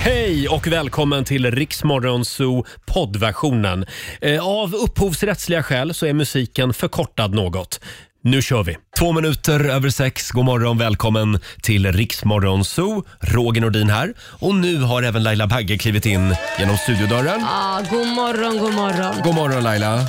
Hej och välkommen till Riksmorgon Zoo poddversionen. Eh, Av upphovsrättsliga skäl så är musiken förkortad något. Nu kör vi! Två minuter över sex. God morgon, välkommen till Riksmorgon Zoo. Roger Nordin här. Och nu har även Laila Bagge klivit in genom studiodörren. Ah, god morgon, god morgon. God morgon Laila!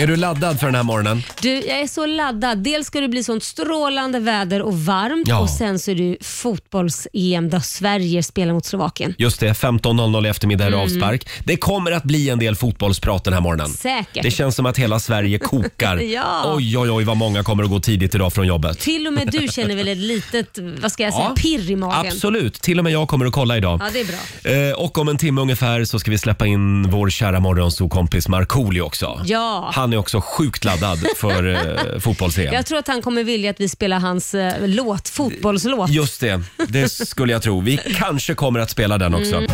Är du laddad för den här morgonen? Du, jag är så laddad. Dels ska det bli sånt strålande väder och varmt Ja. och sen så är det ju fotbolls-EM där Sverige spelar mot Slovakien. Just det, 15.00 i eftermiddag är Mm. det avspark. Det kommer att bli en del fotbollsprat den här morgonen. Säkert. Det känns som att hela Sverige kokar. Ja. Oj, oj, oj vad många kommer att gå tidigt idag från jobbet. Till och med du känner väl ett litet vad ska jag säga, Ja. pirr i magen? Absolut, till och med jag kommer att kolla idag. Ja, det är bra. Eh, och om en timme ungefär så ska vi släppa in vår kära morgonsokompis Markoolio också. Ja. Han är också sjukt laddad för eh, fotbolls Jag tror att han kommer vilja att vi spelar hans eh, låt, fotbollslåt. Just det, det skulle jag tro. Vi kanske kommer att spela den också. Mm.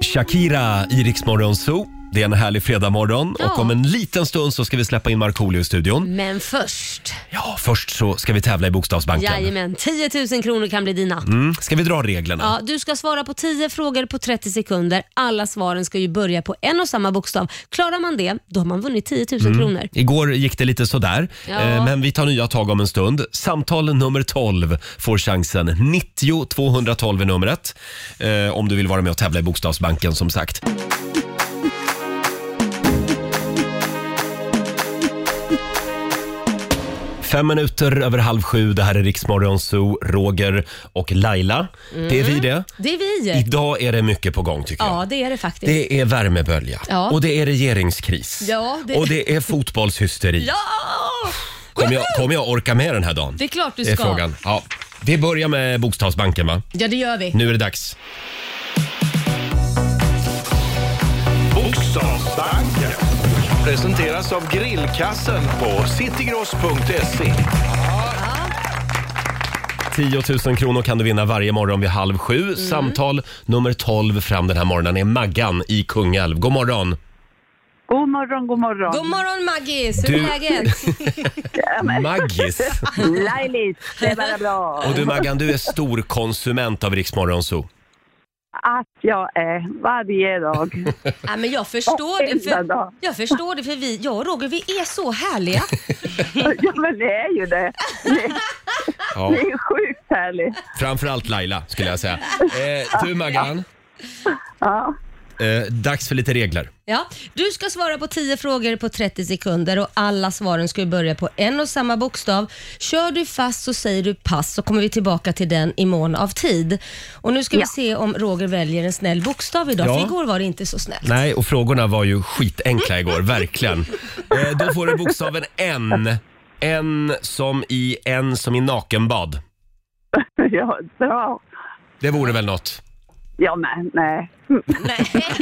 Shakira i Rix Morgon Zoo. Det är en härlig fredagmorgon Ja. Mm. och om en liten stund så ska vi släppa in Markoolio i studion. Men först, Ja, först så ska vi tävla i Bokstavsbanken. jajamän, 10 000 kronor kan bli dina. Mm. Ska vi dra reglerna? Ja, du ska svara på 10 frågor på 30 sekunder. Alla svaren ska ju börja på en och samma bokstav. Klarar man det, då har man vunnit 10 000 Mm. kronor. Igår gick det lite sådär, Ja. eh, men vi tar nya tag om en stund. Samtal nummer 12 får chansen. 90 212 är numret eh, om du vill vara med och tävla i Bokstavsbanken som sagt. Fem minuter över halv sju. Det här är Riksmorgon Zoo, Roger och Laila. Det är vi det. Det är vi. Idag är det mycket på gång tycker jag. Mm. Ja, det är det faktiskt. Det är värmebölja Ja. och det är regeringskris Ja, det- och det är fotbollshysteri. Ja! Kommer jag, kommer jag orka med den här dagen? Det är klart du Det är ska. frågan. Ja. Vi börjar med Bokstavsbanken va? Ja, det gör vi. Nu är det dags. Bokstavsbanken presenteras av Grillkassen på E. citygross.se. 10 000 kronor kan du vinna varje morgon vid halv sju. Mm. Samtal nummer 12 fram den här morgonen är Maggan i Kungälv. God morgon! God morgon, god morgon. God morgon Maggis, hur är Du- läget? Maggis! Lailis, det är bara bra. Och du Maggan, du är stor konsument av Rix Morgon Zoo. Att jag är varje dag. ja, men jag förstår det. Varenda För, dag. jag förstår det för vi, jag och Roger, vi är så härliga. Ja, men det är ju det. Ja. Det är ju sjukt härligt. Framförallt Laila skulle jag säga. Eh, du Maggan, Ja. eh, dags för lite regler. Ja. Du ska svara på 10 frågor på 30 sekunder och alla svaren ska ju börja på en och samma bokstav. Kör du fast så säger du pass så kommer vi tillbaka till den i mån av tid. Och nu ska vi Ja. se om Roger väljer en snäll bokstav idag, Ja. för igår var det inte så snällt. Nej, och frågorna var ju skitenkla igår, verkligen. Eh, då får du bokstaven N. N som i en som i nakenbad. ja, bra. Det vore väl något. Ja, men nej. Nej.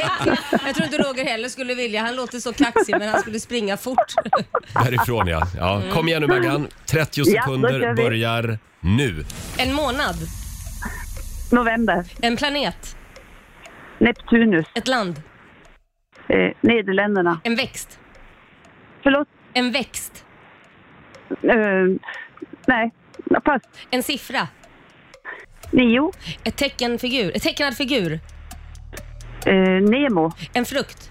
Jag tror inte Roger heller skulle vilja. Han låter så kaxig men han skulle springa fort. Därifrån ja. ja. Kom igen nu Maggan. 30 Ja, då sekunder kör vi. börjar nu. En månad, November. en planet, Neptunus. ett land, Eh, Nederländerna. en växt, Förlåt. en växt, Eh, nej. Pass. en siffra, Nio. ett teckenfigur, ett tecknad figur, Eh, Nemo. en frukt,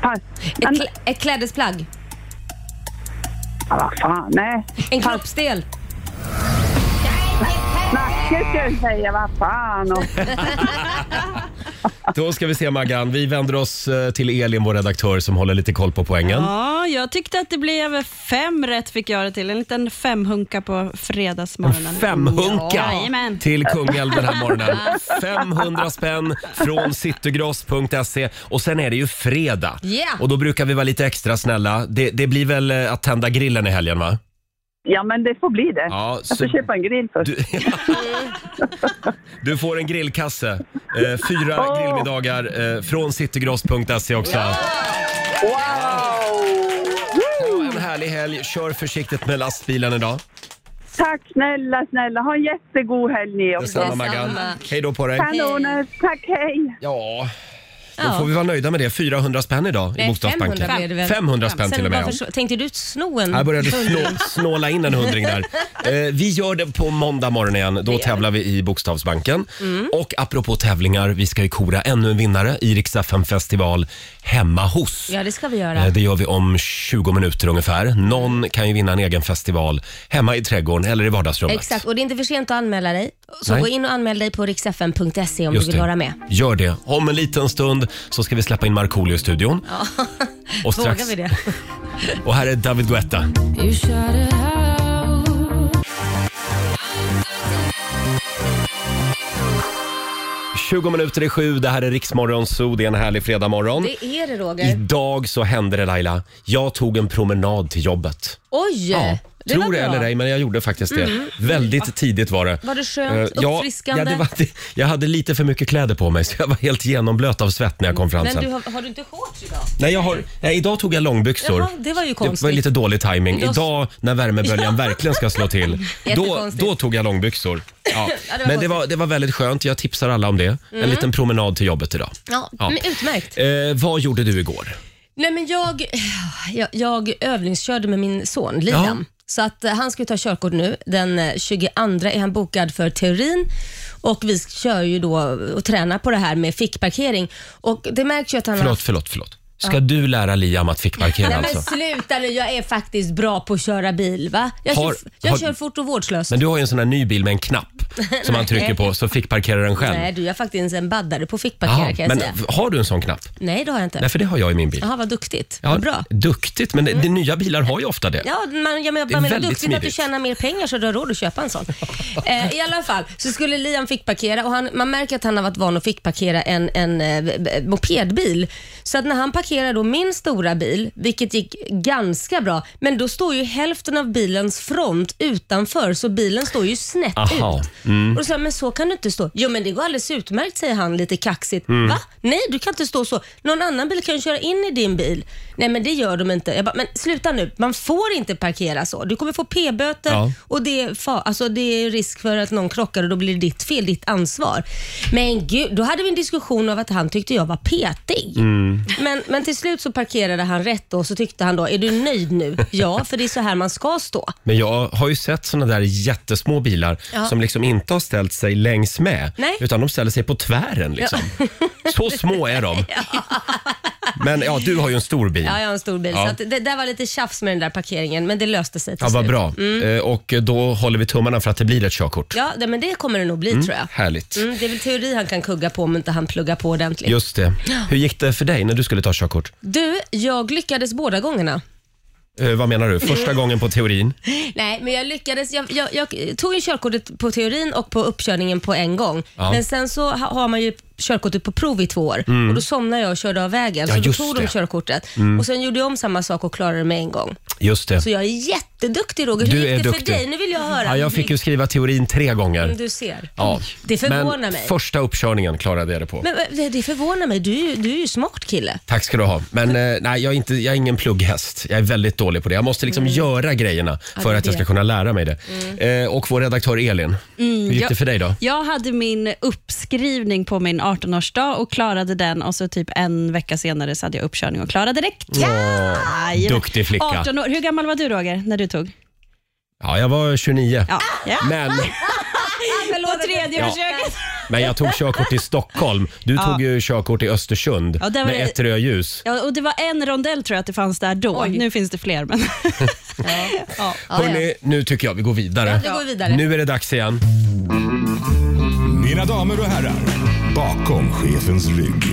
Pass. ett, Men- kl- ett klädesplagg, Ja, vad fan. Nej. en kroppsdel. Nacke ska jag säga. Vad fan. Och, Då ska vi se Maggan. Vi vänder oss eh, till Elin, vår redaktör, som håller lite koll på poängen. Ja, jag tyckte att det blev fem rätt fick jag det till. En liten femhunka på fredagsmorgonen. Femhunka Jajamän. till Kungälv den här morgonen. 500 spänn från citygross.se. Och sen är det ju fredag. Ja. Och då brukar vi vara lite extra snälla. Det, det blir väl eh, att tända grillen i helgen va? ja, men det får bli det. Ja, Jag så- får köpa en grill först. Du, du får en grillkasse. Eh, fyra Åh. grillmiddagar eh, från citygross.se också. Wow! Woo! Ha en härlig helg. Kör försiktigt med lastbilen idag. Tack snälla, snälla. Ha en jättegod helg ni också. Detsamma Maggan. Detsamma. Hej då på dig. Kanoner. Tack, hej. Ja, Då Ja. får vi vara nöjda med det. 400 spänn idag i Nej, Bokstavsbanken. 500 Eh, blev det väl. 500 spänn till och med. Sen varför så- Tänkte du sno en Jag började hundring? snå, snåla in en hundring där. Eh, vi gör det på måndag morgon igen. Då tävlar vi i Bokstavsbanken. Mm. Och apropå tävlingar, vi ska ju kora ännu en vinnare i Rix FM festival hemma hos. Ja, det ska vi Eh, göra. Det gör vi om 20 minuter ungefär. Någon kan ju vinna en egen festival hemma i trädgården eller i vardagsrummet. Exakt, och det är inte för sent att anmäla dig. Så Nej. gå in och anmäl dig på riksfn.se om Just du det. vill vara med. Gör det. Om en liten stund så ska vi släppa in Markoolio i studion. Och strax- Vågar vi det? Och här är David Guetta. Hej 20 minuter i sju, det här är Riksmorgon Zoo, det är en härlig fredagmorgon. Det är det Roger. Idag så hände det Laila. Jag tog en promenad till jobbet. Oj! det Tror var det bra. eller ej, men jag gjorde faktiskt det. Väldigt tidigt var det. Var det skönt? Eh, ja, Uppfriskande? Ja, det var, jag hade lite för mycket kläder på mig så jag var helt genomblöt av svett när jag kom fram Men sen. du, har, har du inte shorts idag? Nej, jag har, nej, idag tog jag långbyxor. Jaha, det var ju Det var konstigt. lite dålig timing. Idag- Idag när värmeböljan verkligen ska slå till, då, Jättekonstigt. då tog jag långbyxor. Ja. det var Mm. Men det var, det var väldigt skönt. Jag tipsar alla om det. En liten promenad till jobbet idag. Ja, Ja. Men utmärkt. Eh, vad gjorde du igår? Nej, men jag, jag, jag övningskörde med min son Liam. Så att eh, han ska ju ta körkort nu. Den eh, 22 är han bokad för teorin och vi kör ju då och tränar på det här med fickparkering. Och det märks ju att han har Förlåt, förlåt, förlåt. Ska du lära Liam att fickparkera Nej alltså? men sluta nu, jag är faktiskt bra på att köra bil va? Jag, Har- kör, jag har- kör fort och vårdslöst. Men du har ju en sån här ny bil med en knapp som man trycker på så fickparkerar den själv. Nej du, jag är faktiskt en baddare på fickparkera Jaha, kan jag men säga. har du en sån knapp? Nej det har jag inte. Nej, för det har jag i min bil. Jaha, vad duktigt. Ja, Vad bra. Mm. Duktigt, men de nya bilar har ju ofta det. Ja, man, jag menar, är jag menar väldigt duktigt att du smidigt. tjänar mer pengar så du har råd att köpa en sån. eh, I alla fall, så skulle Liam fickparkera och han, man märker att han har varit van att fickparkera en, en eh, b- b- mopedbil. Så att när han parkerar då min stora bil, vilket gick ganska bra, men då står ju hälften av bilens front utanför så bilen står ju snett Aha, ut. Mm. Och då säger jag, men så kan du inte stå. Jo men det går alldeles utmärkt säger han lite kaxigt. Mm. Va? Nej du kan inte stå så. Någon annan bil kan ju köra in i din bil. Nej men det gör de inte. Jag bara, men sluta nu, man får inte parkera så. Du kommer få p-böter Ja. och det är, fa- alltså, det är risk för att någon krockar och då blir det ditt fel, ditt ansvar. Men gud, då hade vi en diskussion om att han tyckte jag var petig. Men, men till slut så parkerade han rätt och så tyckte han då, är du nöjd nu? Ja, för det är så här man ska stå. Men jag har ju sett såna där jättesmå bilar Ja. som liksom inte har ställt sig längs med, Nej. utan de ställer sig på tvären. Liksom. Så små är de. Men ja, du har ju en stor bil. Ja, jag har en stor bil. Ja. Så att det där var lite tjafs med den där parkeringen, men det löste sig till Ja, vad slut. Mm. bra. Eh, Och då håller vi tummarna för att det blir ett körkort. Ja, det- men det kommer det nog bli tror jag. Härligt. Mm, det är väl teori han kan kugga på om inte han pluggar på ordentligt. Just det. Hur gick det för dig när du skulle ta körkort? Du, jag lyckades båda gångerna. Eh, vad menar du? Första Mm. gången på teorin? Nej, men jag lyckades. Jag, jag, jag tog ju körkortet på teorin och på uppkörningen på en gång. Ja. Mm. Men sen så ha- har man ju körkortet på prov i två år och då somnade jag och körde av vägen. Ja, så då just tog det. Mm. de körkortet och sen gjorde jag om samma sak och klarade det med en gång. Just det. Så jag är jätteduktig Roger. Hur Du gick är det duktig. för dig? Nu vill jag höra. Ja, jag fick ju skriva teorin tre gånger. Mm, Du ser. Ja. Det förvånar Men mig. första uppkörningen klarade jag det på. Men men det, det förvånar mig. Du, är ju- du är ju smart kille. Tack ska du ha. Men eh, nej, jag är, inte, jag är ingen plugghäst. Jag är väldigt dålig på det. Jag måste liksom göra grejerna för det att jag ska vet. kunna lära mig det. Eh, och vår redaktör Elin, hur gick det Mm, jag- för dig då? Jag hade min uppskrivning på min 18-årsdag och klarade den och så typ en vecka senare så hade jag uppkörning och klarade direkt. Jajamän. duktig flicka. 18 år. Hur gammal var du Roger när du tog? Ja, jag var 29. Ja. ja. Men, På tredje Ja. försöket. men jag tog körkort i Stockholm. Du tog ju körkort i Östersund Ja, där var med det- ett rödljus. Ja, och det var en rondell tror jag att det fanns där då. Nu finns det fler. Men... ja. Ja, Hörrni, nu tycker jag vi går vidare. Ja, vi går vidare. Nu är det dags igen. Mina damer och herrar, bakom chefens rygg.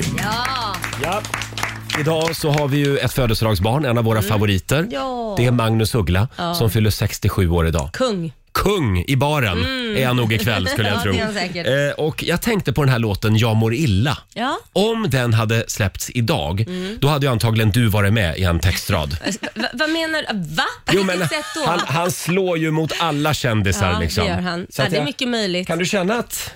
Idag så har vi ju ett födelsedagsbarn, en av våra favoriter. Mm. Ja. Det är Magnus Uggla som fyller 67 år idag. Kung. Mm. kung i baren är han nog ikväll skulle jag Ja, tro. det är han säkert. Eh, och jag tänkte på den här låten Jag mår illa. Ja. Mm. Om den hade släppts idag, då hade ju antagligen du varit med i en textrad. Alltså, Va, vad menar du? Va? På Jo, vilket men sätt då? han, han slår ju mot alla kändisar ja, liksom. det gör han. Så Ja, att det är jag- mycket möjligt. Kan du känna att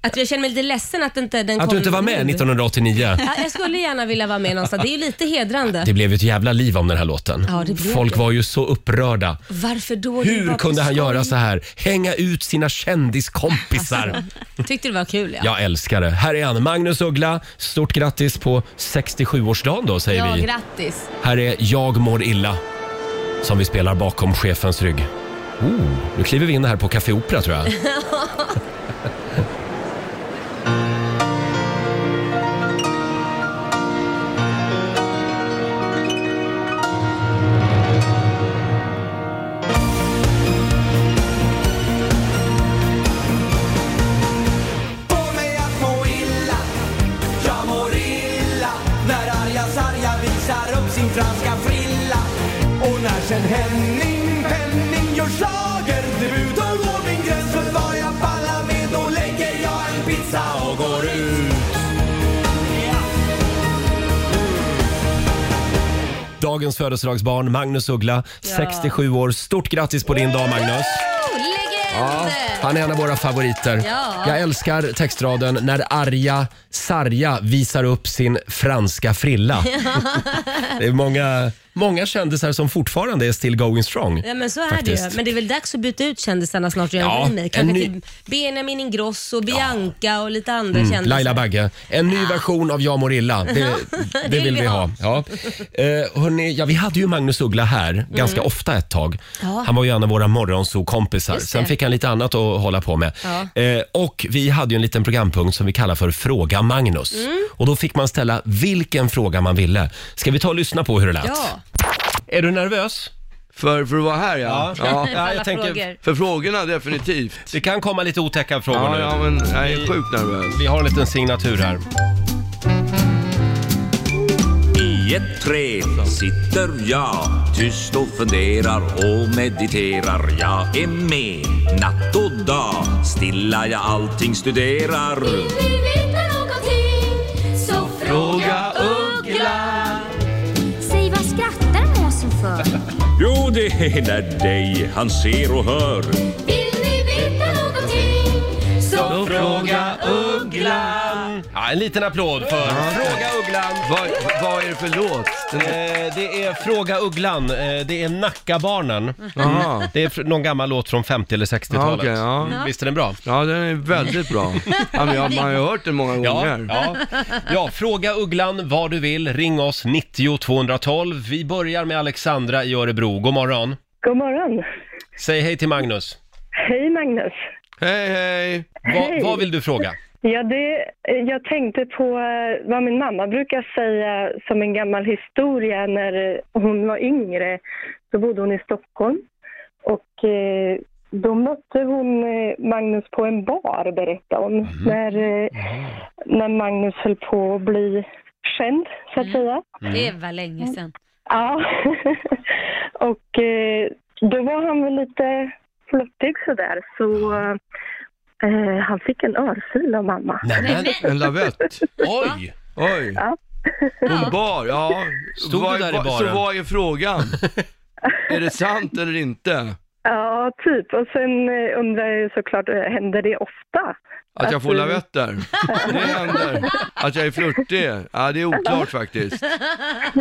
Att jag känner mig lite ledsen att inte den Att kom du inte var med nu. 1989. Ja, jag skulle gärna vilja vara med någonstans. Det är ju lite hedrande. Det blev ju ett jävla liv om den här låten. Ja, det blev Folk det. var ju så upprörda. Varför då? Det var Hur på kunde han skoj. göra så här? Hänga ut sina kändiskompisar. Tyckte det var kul ja. Jag älskar det. Här är han, Magnus Uggla. Stort grattis på 67-årsdagen då säger Ja, vi. grattis. Här är Jag mår illa som vi spelar bakom chefens rygg. Oh, nu kliver vi in här på Café Opera tror jag. Få mig att må illa, jag mår illa När arga sarga visar upp sin franska frilla Och när sen Henning Penning gör schlagerdebut Då går min gräns för vad jag pallar med Då lägger jag en pizza och går ut Dagens födelsedagsbarn, Magnus Uggla, 67 år. Stort grattis på din dag Magnus. Oh, legend! Ja, han är en av våra favoriter. Ja. Jag älskar textraden “När arga Sarja visar upp sin franska frilla”. det är många, många kändisar som fortfarande är still going strong. Ja, men så är faktiskt. det ju. Men det är väl dags att byta ut kändisarna snart och göra Ja, en remake. Kanske en ny- Mm, till Benjamin Ingrosso, Bianca och lite andra kändisar. Laila Bagge, en ny version av Jag mår illa. Det, det, vill, vi ha. Ja. Eh, hörni, ja, vi hade ju Magnus Uggla här ganska ofta ett tag. Mm. Ja. Han var ju en av våra morgonsokompisar. Just det. Sen fick han lite annat att hålla på med. Eh, och vi hade ju en liten programpunkt som vi kallar för Fråga Magnus. Mm. Och då fick man ställa vilken fråga man ville. Ska vi ta och lyssna på hur det lät? Ja, Är du nervös? För, för att vara här ja. ja. alla jag tänker- frågor. För frågorna definitivt. Det kan komma lite otäcka frågor Ja, nu. ja men jag är sjukt nervös. Vi har en liten signatur här. I ett träd sitter jag tyst och funderar och mediterar. Jag är med natt och dag, stilla jag allting studerar. Vill ni veta någonting så fråga Uggla. Säg vad skrattar måsen för? Jo, det är när dig han ser och hör. Vill ni veta någonting så Fråga Ja, en liten applåd för Fråga Ugglan. Vad, vad är det för låt? Den, Eh, det är Fråga Ugglan, eh, det är Nackabarnen. aha. Det är fr- någon gammal låt från 50 eller 60-talet. Ja, okej, ja. Mm, Visst är den bra? Ja, den är väldigt bra. Ja, men jag, man har ju hört den många Ja, gånger. ja. ja, fråga Ugglan vad du vill. Ring oss 90 212. Vi börjar med Alexandra i Örebro. God morgon. God morgon. Säg hej till Magnus. Hej Magnus. Hej, hej! Va, vad vill du fråga? Ja, det, eh, jag tänkte på eh, vad min mamma brukar säga som en gammal historia. När eh, hon var yngre så bodde hon i Stockholm. Och eh, då mötte hon eh, Magnus på en bar, berättade hon. Mhm. När, eh, när Magnus höll på att bli känd, så att säga. det var länge sedan. Ja. och eh, då var han väl lite flottig sådär. Så eh, han fick en örfil av mamma. Nämen, En lavett. oj! Oj. Ja. Hon bar, ja. Stod du där i vad- baren? Så vad är frågan? Är det sant eller inte? Ja, typ. Och sen eh, undrar jag ju såklart, eh, händer det ofta? Att jag får lavetter? Det händer. Att jag är flörtig? Ja, det är oklart faktiskt.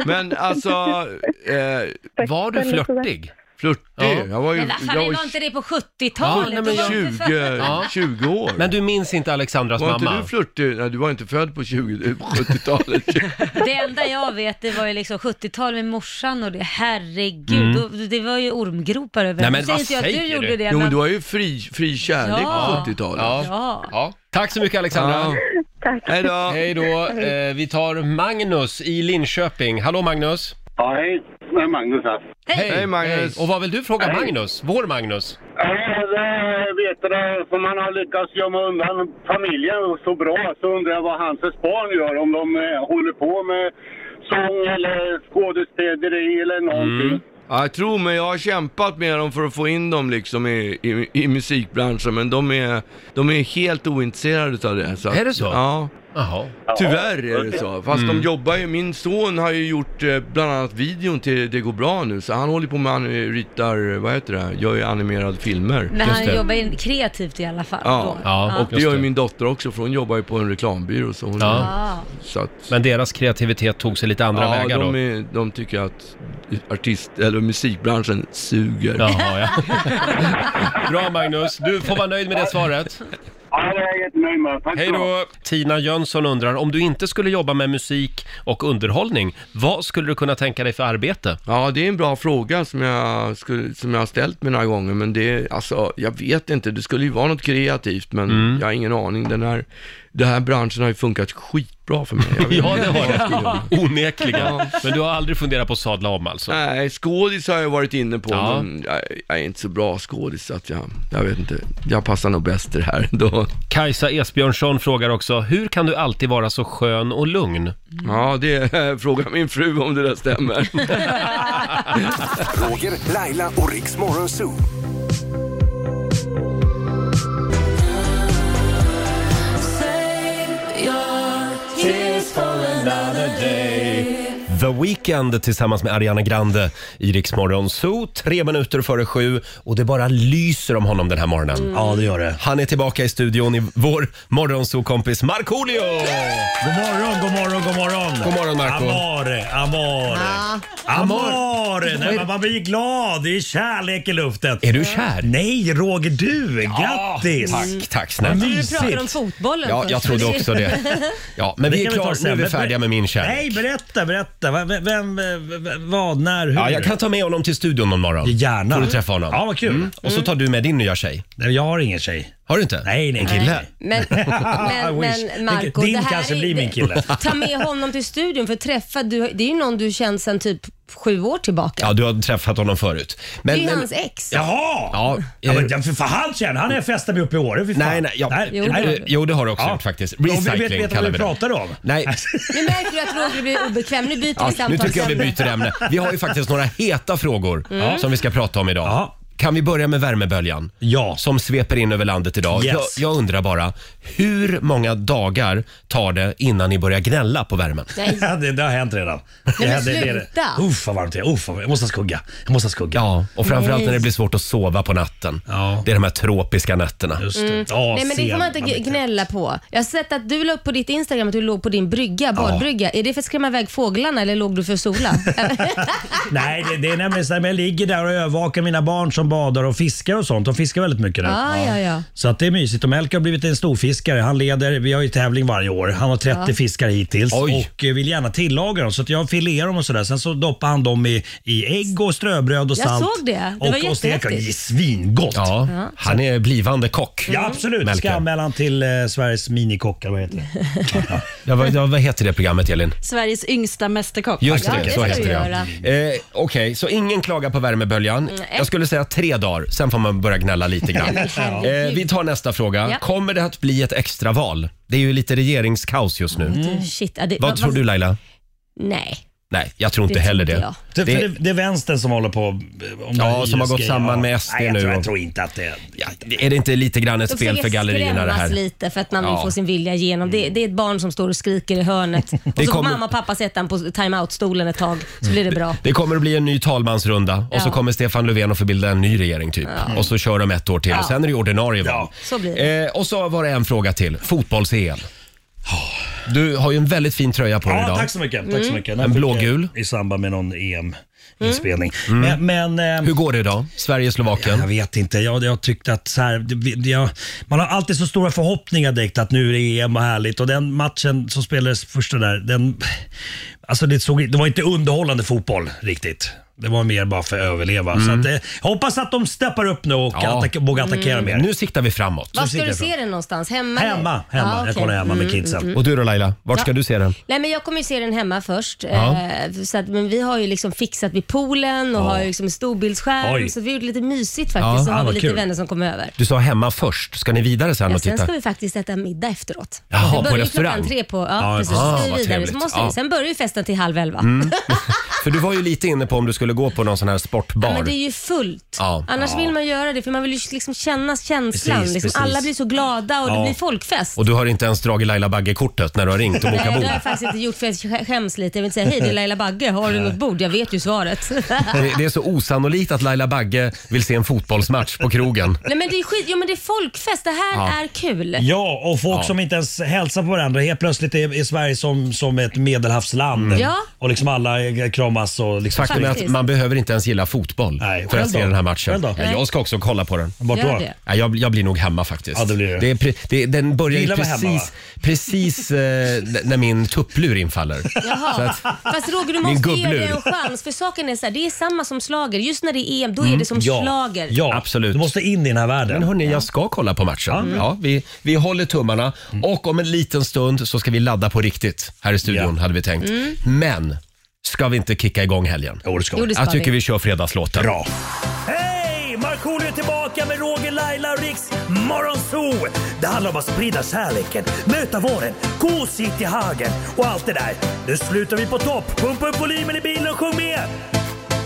Men alltså, eh, Var du Eller sådär. flörtig? flörtig? Ja. Jag var ju... Men vad fan, jag det var var inte det på Ja, 70-talet? nej, men Det var ju för- 20, Ja. 20 år. Men du minns inte Alexandras var inte mamma? du flörtig? Nej, du var inte född på eh, 20, 70-talet. Det enda jag vet det var ju liksom 70-tal med morsan och det, herregud, då, det var ju ormgropar Nej, överallt. men Det vad sägs ju att säger du? du gjorde det, Jo, men men du var ju fri, fri kärlek Ja. på 70-talet. Ja. ja. Tack så mycket Alexandra. Ja. Tack. Hej då. Hej då. Eh, vi tar Magnus i Linköping. Hallå Magnus. Ja, hej. Det är Magnus här. Hej, Hej, Magnus. Och vad vill du fråga Magnus? Vår Magnus? Det vet du, som man har lyckats gömma undan familjen så bra så undrar jag vad hans barn gör. Om de eh, håller på med sång eller skådespeleri eller Mm. någonting. Mm. Ja, tro mig, jag har kämpat med dem för att få in dem liksom i, i, i musikbranschen, men de är, de är helt ointresserade av det. Så. Mm. att- Är det så? Ja. Jaha. Tyvärr är det så. Fast de jobbar ju, min son har ju gjort eh, bland annat videon till Det går bra nu, så han håller på med, han ritar, vad heter det, gör ju animerade filmer. Men han jobbar in kreativt i alla fall. Ja, då. och det just gör ju det. min dotter också för hon jobbar ju på en reklambyrå. Så hon Ja. Ah. så att, Men deras kreativitet tog sig lite andra ja, vägar de, då? Är, de tycker att artist, eller musikbranschen suger. Jaha, ja. Bra Magnus, du får vara nöjd med det svaret. Ja, det är jag jättenöjd med. Tack Hej ska du ha. då! Tina Jönsson undrar, om du inte skulle jobba med musik och underhållning, vad skulle du kunna tänka dig för arbete? Ja, det är en bra fråga som jag, skulle, som jag har ställt mig några gånger, men det, alltså, jag vet inte, det skulle ju vara något kreativt, men Mm. jag har ingen aning. Den här, den här branschen har ju funkat skitbra för mig. Jag vet Ja, inte det vad jag skulle har göra. du. Onekligen. Ja. Men du har aldrig funderat på att sadla om alltså? Nej, skådis har jag varit inne på, Ja. men jag, jag är inte så bra skådis, så att jag, jag vet inte, jag passar nog bäst i det här ändå. Kajsa Esbjörnsson frågar också, hur kan du alltid vara så skön och lugn? Ja, det eh, frågar min fru om det där stämmer. Roger, Laila och Riks Morgonzoo. The Weeknd tillsammans med Ariana Grande i Rix Morgon Zoo. Tre minuter före sju och det bara lyser om honom den här morgonen. Ja, det gör det. Han är tillbaka i studion i vår morgonzoo-kompis Markoolio! God morgon, god morgon, god morgon. God morgon, Marco. Amore, amore. Amore! Nej, men man blir glad. Det är kärlek i luften. Är du kär? Nej, Roger, du. Ja, Grattis! tack, tack snälla. Vad Du mysigt. pratar om fotbollen Ja, jag trodde också det. Ja, men Det vi är kan ta klara. Nu är sen. vi Men- färdiga med min kärlek. Nej, berätta, berätta. Vem, vem, vem- vem vad, när, hur? Ja, jag kan ta med honom till studion någon morgon. Gärna. Får du träffa honom. Mm. Ja, vad kul. Mm. Och så tar du med din nya tjej. Nej, jag har ingen tjej. Har du inte? Nej, nej. En kille? Men, men, I wish. men Marco, Din det här kanske är, blir min kille. Ta med honom till studion för träffa, du, det är ju någon du känt sedan typ sju år tillbaka. Ja, du har träffat honom förut. Det är ju hans ex. Jaha! Ja, Ja, eh, men jag- för fan, han känner han är festar mig uppe i Åre. för fan. Nej, nej, ja. Jo, det- jo, det har du också gjort faktiskt. Ja, men vi Recycling vet, vet kallar vad vi vi det. pratar om. Alltså, Nej, Nu märker du att Roger blir obekväm. Nu byter ja, vi nu samtalsämne. tycker jag vi byter ämne. Vi har ju faktiskt några heta frågor Mm. som vi ska prata om idag. Kan vi börja med värmeböljan? Ja. Som sveper in över landet idag. Yes. Jag, jag undrar bara, hur många dagar tar det innan ni börjar gnälla på värmen? Nej. det, det har hänt redan. men hände- sluta. Uff vad varmt det är. Uff, vad- jag måste ha skugga. Jag måste ha skugga. Ja, Och framförallt när det blir svårt att sova på natten. Det är de här tropiska nätterna. Mm. Nej men det får man inte g- gnälla på. Jag har sett att du la upp på ditt Instagram att du låg på din brygga, badbrygga. Är det för att skrämma iväg fåglarna eller låg du för att sola? Mm. Nej, det, det är nämligen så här, men jag ligger där och övervakar mina barn som badar och fiskar och sånt. De fiskar väldigt mycket nu. ah, ja, ja. Så att det är mysigt. Och Melker har blivit en storfiskare. Han leder, vi har ju tävling varje år. Han har 30 Ja. fiskar hittills Oj. och eh, vill gärna tillaga dem. Så att jag filerar dem och sådär. Sen så doppar han dem i, i ägg och ströbröd och Jag salt. såg det. Det och, var och stekar. Det är jättehäftigt. svingott. Ja, Ja. han är blivande kock. Ja, absolut. Melker. Ska anmälan till eh, Sveriges minikockar, vad heter det? Ja, vad, ja, vad heter det programmet Elin? Sveriges yngsta mästerkock. Just det, så heter det. ja. Eh, Okej, så ingen klagar på värmeböljan. Mm, Nej. Jag skulle säga tre dagar, sen får man börja gnälla lite grann. Nej, men eh, vi tar nästa fråga. Ja. Kommer det att bli ett extra val? Det är ju lite regeringskaos just nu. Shit. Ja, Mm. det, Vad tror du Laila? Nej. Nej, jag tror inte Det heller tror det. inte Det, för det, det är vänstern som håller på... eh, Om Ja, det här som har gått IS-grejen. samman med Ja. SD Nej, jag nu Tror, och- jag tror inte att det... Är det inte lite grann ett De spel för försöker gallerierna det här? skrämmas lite för att man vill Ja. få sin vilja igenom. Det, det är ett barn som står och skriker i hörnet. Och så får kommer- mamma och pappa sätta den på time-out-stolen ett tag, så blir det bra. Det kommer att bli en ny talmansrunda och så Ja. kommer Stefan Löfven att förbilda en ny regering typ. Ja. Och så kör de ett år till Ja. och sen är det ju ordinarie val. Så blir det. Eh, och så var det en fråga till. Fotbolls-EM. Du har ju en väldigt fin tröja på dig Ja, idag. tack så mycket. Tack så Mm. mycket. Den En fick jag blågul. I samband med någon EM-inspelning. Men, eh, Hur går det idag? Sverige-Slovakien? Jag vet inte. Jag, jag tyckte att så här, det- vi- jag, man har alltid så stora förhoppningar direkt att nu är det EM och härligt. Och den matchen som spelades första där, den, alltså det, såg, det var inte underhållande fotboll riktigt. Det var mer bara för att överleva. Så Mm. att, eh, jag hoppas att de steppar upp nu och attack, vågar attackera Mm. mer. Nu siktar vi framåt. Var ska du se den någonstans? Hemma? eller? Hemma, hemma. Ja, okej. Jag kollar hemma med Mm, kidsen. mm, mm. Och du då Laila, vart Ja. ska du se den? Nej men jag kommer ju se den hemma först. Ja. Eh, så att, men vi har ju liksom fixat vid poolen och Ja. har ju liksom en storbildsskärm. Oj. Så att vi har gjort lite mysigt Ja. faktiskt. Så Ah, har vi vad lite kul. vänner som kommer över. Du sa hemma först, ska ni vidare sen Ja, och sen titta? ska vi faktiskt äta middag efteråt. Jaha, Det på börjar ju restaurang? klockan tre på... Ja, Ja, precis. ah, Så ska vi vad vidare. Så trevligt. måste Ja. vi. Sen börjar ju festen till halv elva. Mm. För du var ju lite inne på om du skulle gå på någon sån här sportbar. Ja, men det är ju fullt. Ja. Annars Ja. vill man göra det för man vill ju liksom känna känslan. Precis, liksom, precis. Alla blir så glada och Ja. det blir folkfest. Och du har inte ens dragit Laila Bagge-kortet när du har ringt och Nej, bokat det har bord. jag faktiskt inte gjort för jag sk- skäms lite. Jag vill inte säga hej det är Laila Bagge, har du något bord? Jag vet ju svaret. Det, det är så osannolikt att Laila Bagge vill se en fotbollsmatch på krogen. Nej men det är skit, ja men det är folkfest, det här Ja. är kul. Ja, och folk Ja. som inte ens hälsar på varandra. Helt plötsligt är, är Sverige som, som ett medelhavsland. Mm. Ja. Och liksom alla eh, kramas. Och liksom Faktum är att Faktiskt. man behöver inte ens gilla fotboll för själv att se då? den här Själv matchen. då? Ja, jag ska också kolla på den. Vart Gör då? det. Ja, jag, jag blir nog hemma faktiskt. Ja, det blir du. är pre- det, den börjar ju Gillar att vara precis, hemma, precis eh, n- när min tupplur infaller. Så Jaha. att, Fast Roger, du Min måste ge gubblur. det en chans. För saken är så här, det är samma som slager. Just när det är EM, då är Mm, det som ja, slager. Ja, absolut. Du måste in i den här världen. Men hörni, jag ska kolla på matchen. Mm. Ja, vi, vi håller tummarna Mm. och om en liten stund så ska vi ladda på riktigt här i studion hade vi tänkt. Mm. Men ska vi inte kicka igång helgen? Jo, det ska vi. Jo, det ska jag tycker vi. vi kör fredagslåten. Bra. Hej! Markoolio är tillbaka med Roger, Laila och Riks Morgonzoo! Det handlar om att sprida kärleken, möta våren, gosigt i hagen och allt det där. Nu slutar vi på topp! Pumpa upp volymen i bilen och sjung med!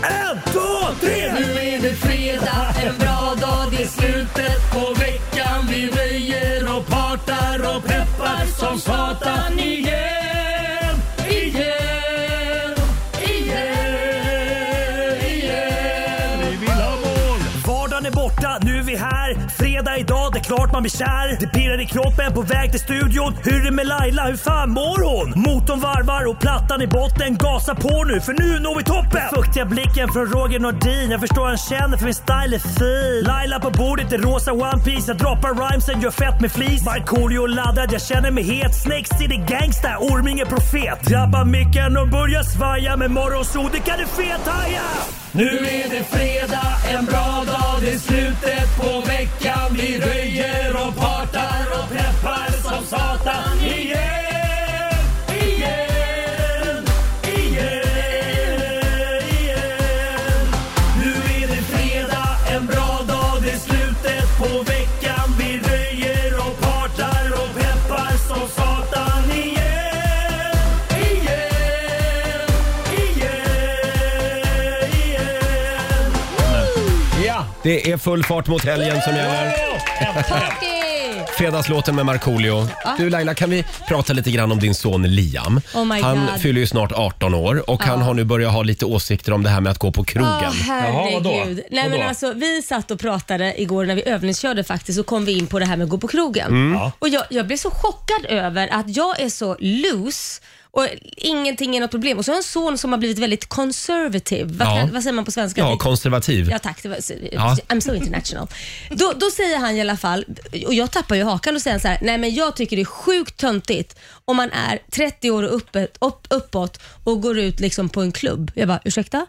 En, två, tre! Nu är det fredag, en bra dag, det är slutet på veckan. Vi röjer och partar och peppar som satan igen, igen, igen, igen. Vi vill ha mål! Vardagen är borta, nu är vi här. Fredag idag, det är klart man blir kär. Det pirrar i kroppen på väg till studion. Hur är det med Laila, hur fan mår hon? Motorn varvar och plattan i botten. Gasa på nu, för nu når vi toppen! Den fuktiga blicken från Roger Nordin. Jag förstår han känner, för min style är fin. Laila på bordet i rosa One Piece Jag droppar rhymesen, gör fett med flis. Markoolio laddad, jag känner mig het. Snakes city gangsta, Orminge profet. Drabbar micken och börjar svaja. Med morgonsol, det kan du fethaja! Nu är det fredag, en bra dag, det är slutet på veckan. Vi röjer och partar och peppar som satan igen, igen, igen, igen. Nu är det fredag, en bra dag, det är slutet på veckan. Vi röjer och partar och peppar som satan igen, igen, igen, igen. Ja, det är full fart mot helgen som gäller. Party! Fredagslåten med Markoolio. Ja. Du Laila, kan vi prata lite grann om din son Liam? Ah. Oh my han God. fyller ju snart 18 år och han Ja. har nu börjat ha lite åsikter om det här med att gå på krogen. Ja, herregud. Nej, men alltså, vi satt och pratade igår när vi övningskörde faktiskt och kom vi in på det här med att gå på krogen. Mm. Ja. Och jag, jag blev så chockad över att jag är så loose och ingenting är något problem. Och så har jag en son som har blivit väldigt conservative. Vad, Ja. vad säger man på svenska? Ja, konservativ. Ja tack, det var, Ja. I'm so international. Då, då säger han i alla fall, och jag tappar ju hakan, och säger han så här, nej men jag tycker det är sjukt töntigt om man är 30 år och uppåt, upp, uppåt och går ut liksom på en klubb. Jag bara, ursäkta?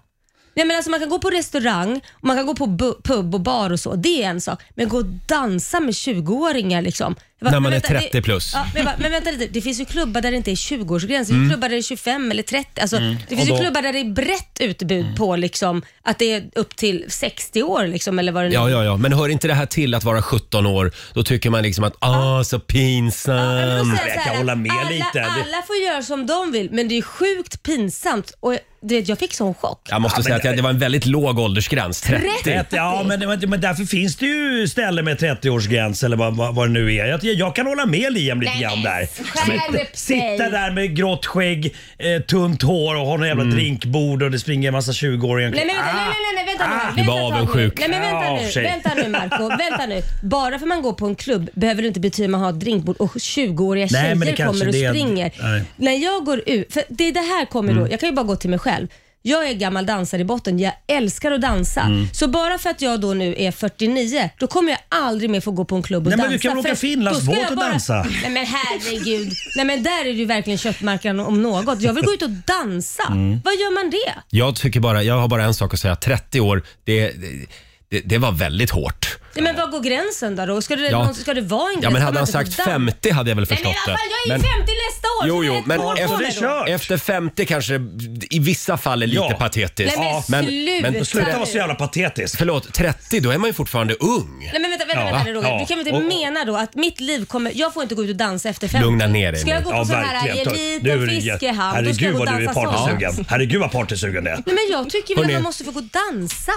Nej men alltså man kan gå på restaurang, och man kan gå på bu- pub och bar och så, det är en sak. Men gå och dansa med 20-åringar liksom. Jag När man "Men är vänta, 30 plus." Det, ja, men, jag bara, men vänta lite, det finns ju klubbar där det inte är 20-årsgräns, det Mm. finns klubbar där det är 25 eller 30. Alltså, Mm. Det finns Och ju då- klubbar där det är brett utbud Mm. på liksom, att det är upp till 60 år liksom, eller vad det nu Ja, ja, ja. Men hör inte det här till att vara 17 år? Då tycker man liksom att ah, så pinsam. säger jag så här, alla, alla får göra som de vill, men det är sjukt pinsamt. Och jag- du vet, jag fick sån chock. Jag måste Ja, men- säga att jag- det var en väldigt låg åldersgräns, 30. 30. Ja, men, men- men därför finns det ju ställen med 30-årsgräns eller vad, vad, vad det nu är. Jag, jag kan hålla med Liam lite Nej, grann men där. skärp dig. sitta där med grått skägg, eh, tunt hår och ha något Mm. jävla drinkbord och det springer en massa 20-åringar Nej men vänta, nej, nej, nej, vänta nu. Vänta Du var ett tag avundsjuk. Nu. Nej men Ah! Ja, vänta för nu, sig. vänta nu Marco vänta nu. Bara för man går på en klubb behöver det inte betyda att man har ett drinkbord och 20-åriga Nej, men det tjejer kanske kommer och det är- springer. Nej. När jag går ut, för det är det här kommer Mm. då, jag kan ju bara gå till mig själv. Jag är gammal dansare i botten, jag älskar att dansa. Mm. Så bara för att jag då nu är 49, då kommer jag aldrig mer få gå på en klubb och Nej, dansa. men du kan väl för åka att Finlandsbåt då ska jag och dansa? Nej men herregud. Nej men där är det ju verkligen köttmarknaden om något. Jag vill gå ut och dansa. Mm. Vad gör man det? Jag tycker bara, jag har bara en sak att säga. 30 år, det, det, det var väldigt hårt. Nej, men var går gränsen där då? Ska det, Ja. någon- ska det vara en gräns? Ja, men hade Ska han man sagt inte få dans? 50 hade jag väl Nej, men i förstått alla det. fall, jag är Men- ju 50 nästa år! Jo, så jo, ett men år på mig då. efter, efter 50 kanske det i vissa fall är lite patetiskt. Nej, men sluta nu. Sluta vara så jävla patetiskt. Förlåt, 30 då är man ju fortfarande ung. Nej men vänta, vänta, Ja. vänta Roger. Ja. Du kan väl inte Och- mena då att mitt liv kommer... Jag får inte gå ut och dansa efter 50? Lugna ner dig Ska jag nu. gå på Ja, sån verkligen. här Ta- eliten fiskehamn? Då ska jag Herregud gå och vad du är dansa partysugen. sång. Herregud vad partysugen det är. Nej men jag tycker väl Hörrni. att man måste få gå och dansa.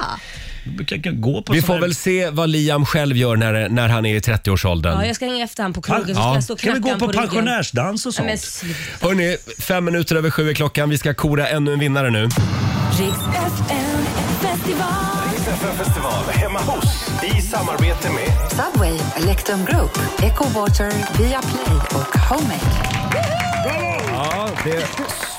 Vi får väl se vad Liam själv gör när, när han är i 30-årsåldern. Ja, jag ska hänga efter han på krogen så ska Ja. jag stå och Kan vi knacka gå han på ryggen. pensionärsdans och Nej, men sånt? Hörni, fem minuter över sju är klockan. Vi ska kora ännu en vinnare nu. Riks FM festival. Riks FM festival hemma hos i samarbete med Subway, Electrum Group, Echo Water, Viaplay och Homemade. Ja, det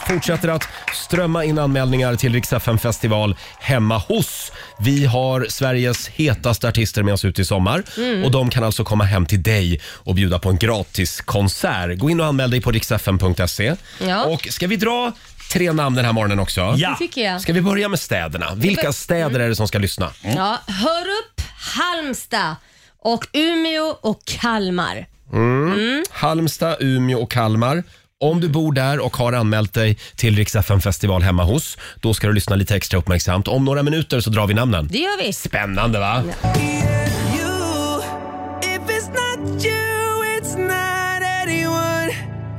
fortsätter att strömma in anmälningar till Rix FM festival hemma hos. Vi har Sveriges hetaste artister med oss ut i sommar Mm. och de kan alltså komma hem till dig och bjuda på en gratis konsert. Gå in och anmäl dig på riksfm.se. Ja. Och ska vi dra tre namn den här morgonen också? Ja. Det tycker jag. Ska vi börja med städerna? Vilka städer är det som ska lyssna? Ja, Hörup, Halmstad och Umeå och Kalmar. Mm. Halmstad, Umeå och Kalmar. Om du bor där och har anmält dig till Rix FM festival hemma hos, då ska du lyssna lite extra uppmärksamt. Om några minuter så drar vi namnen. Det gör vi. Spännande va?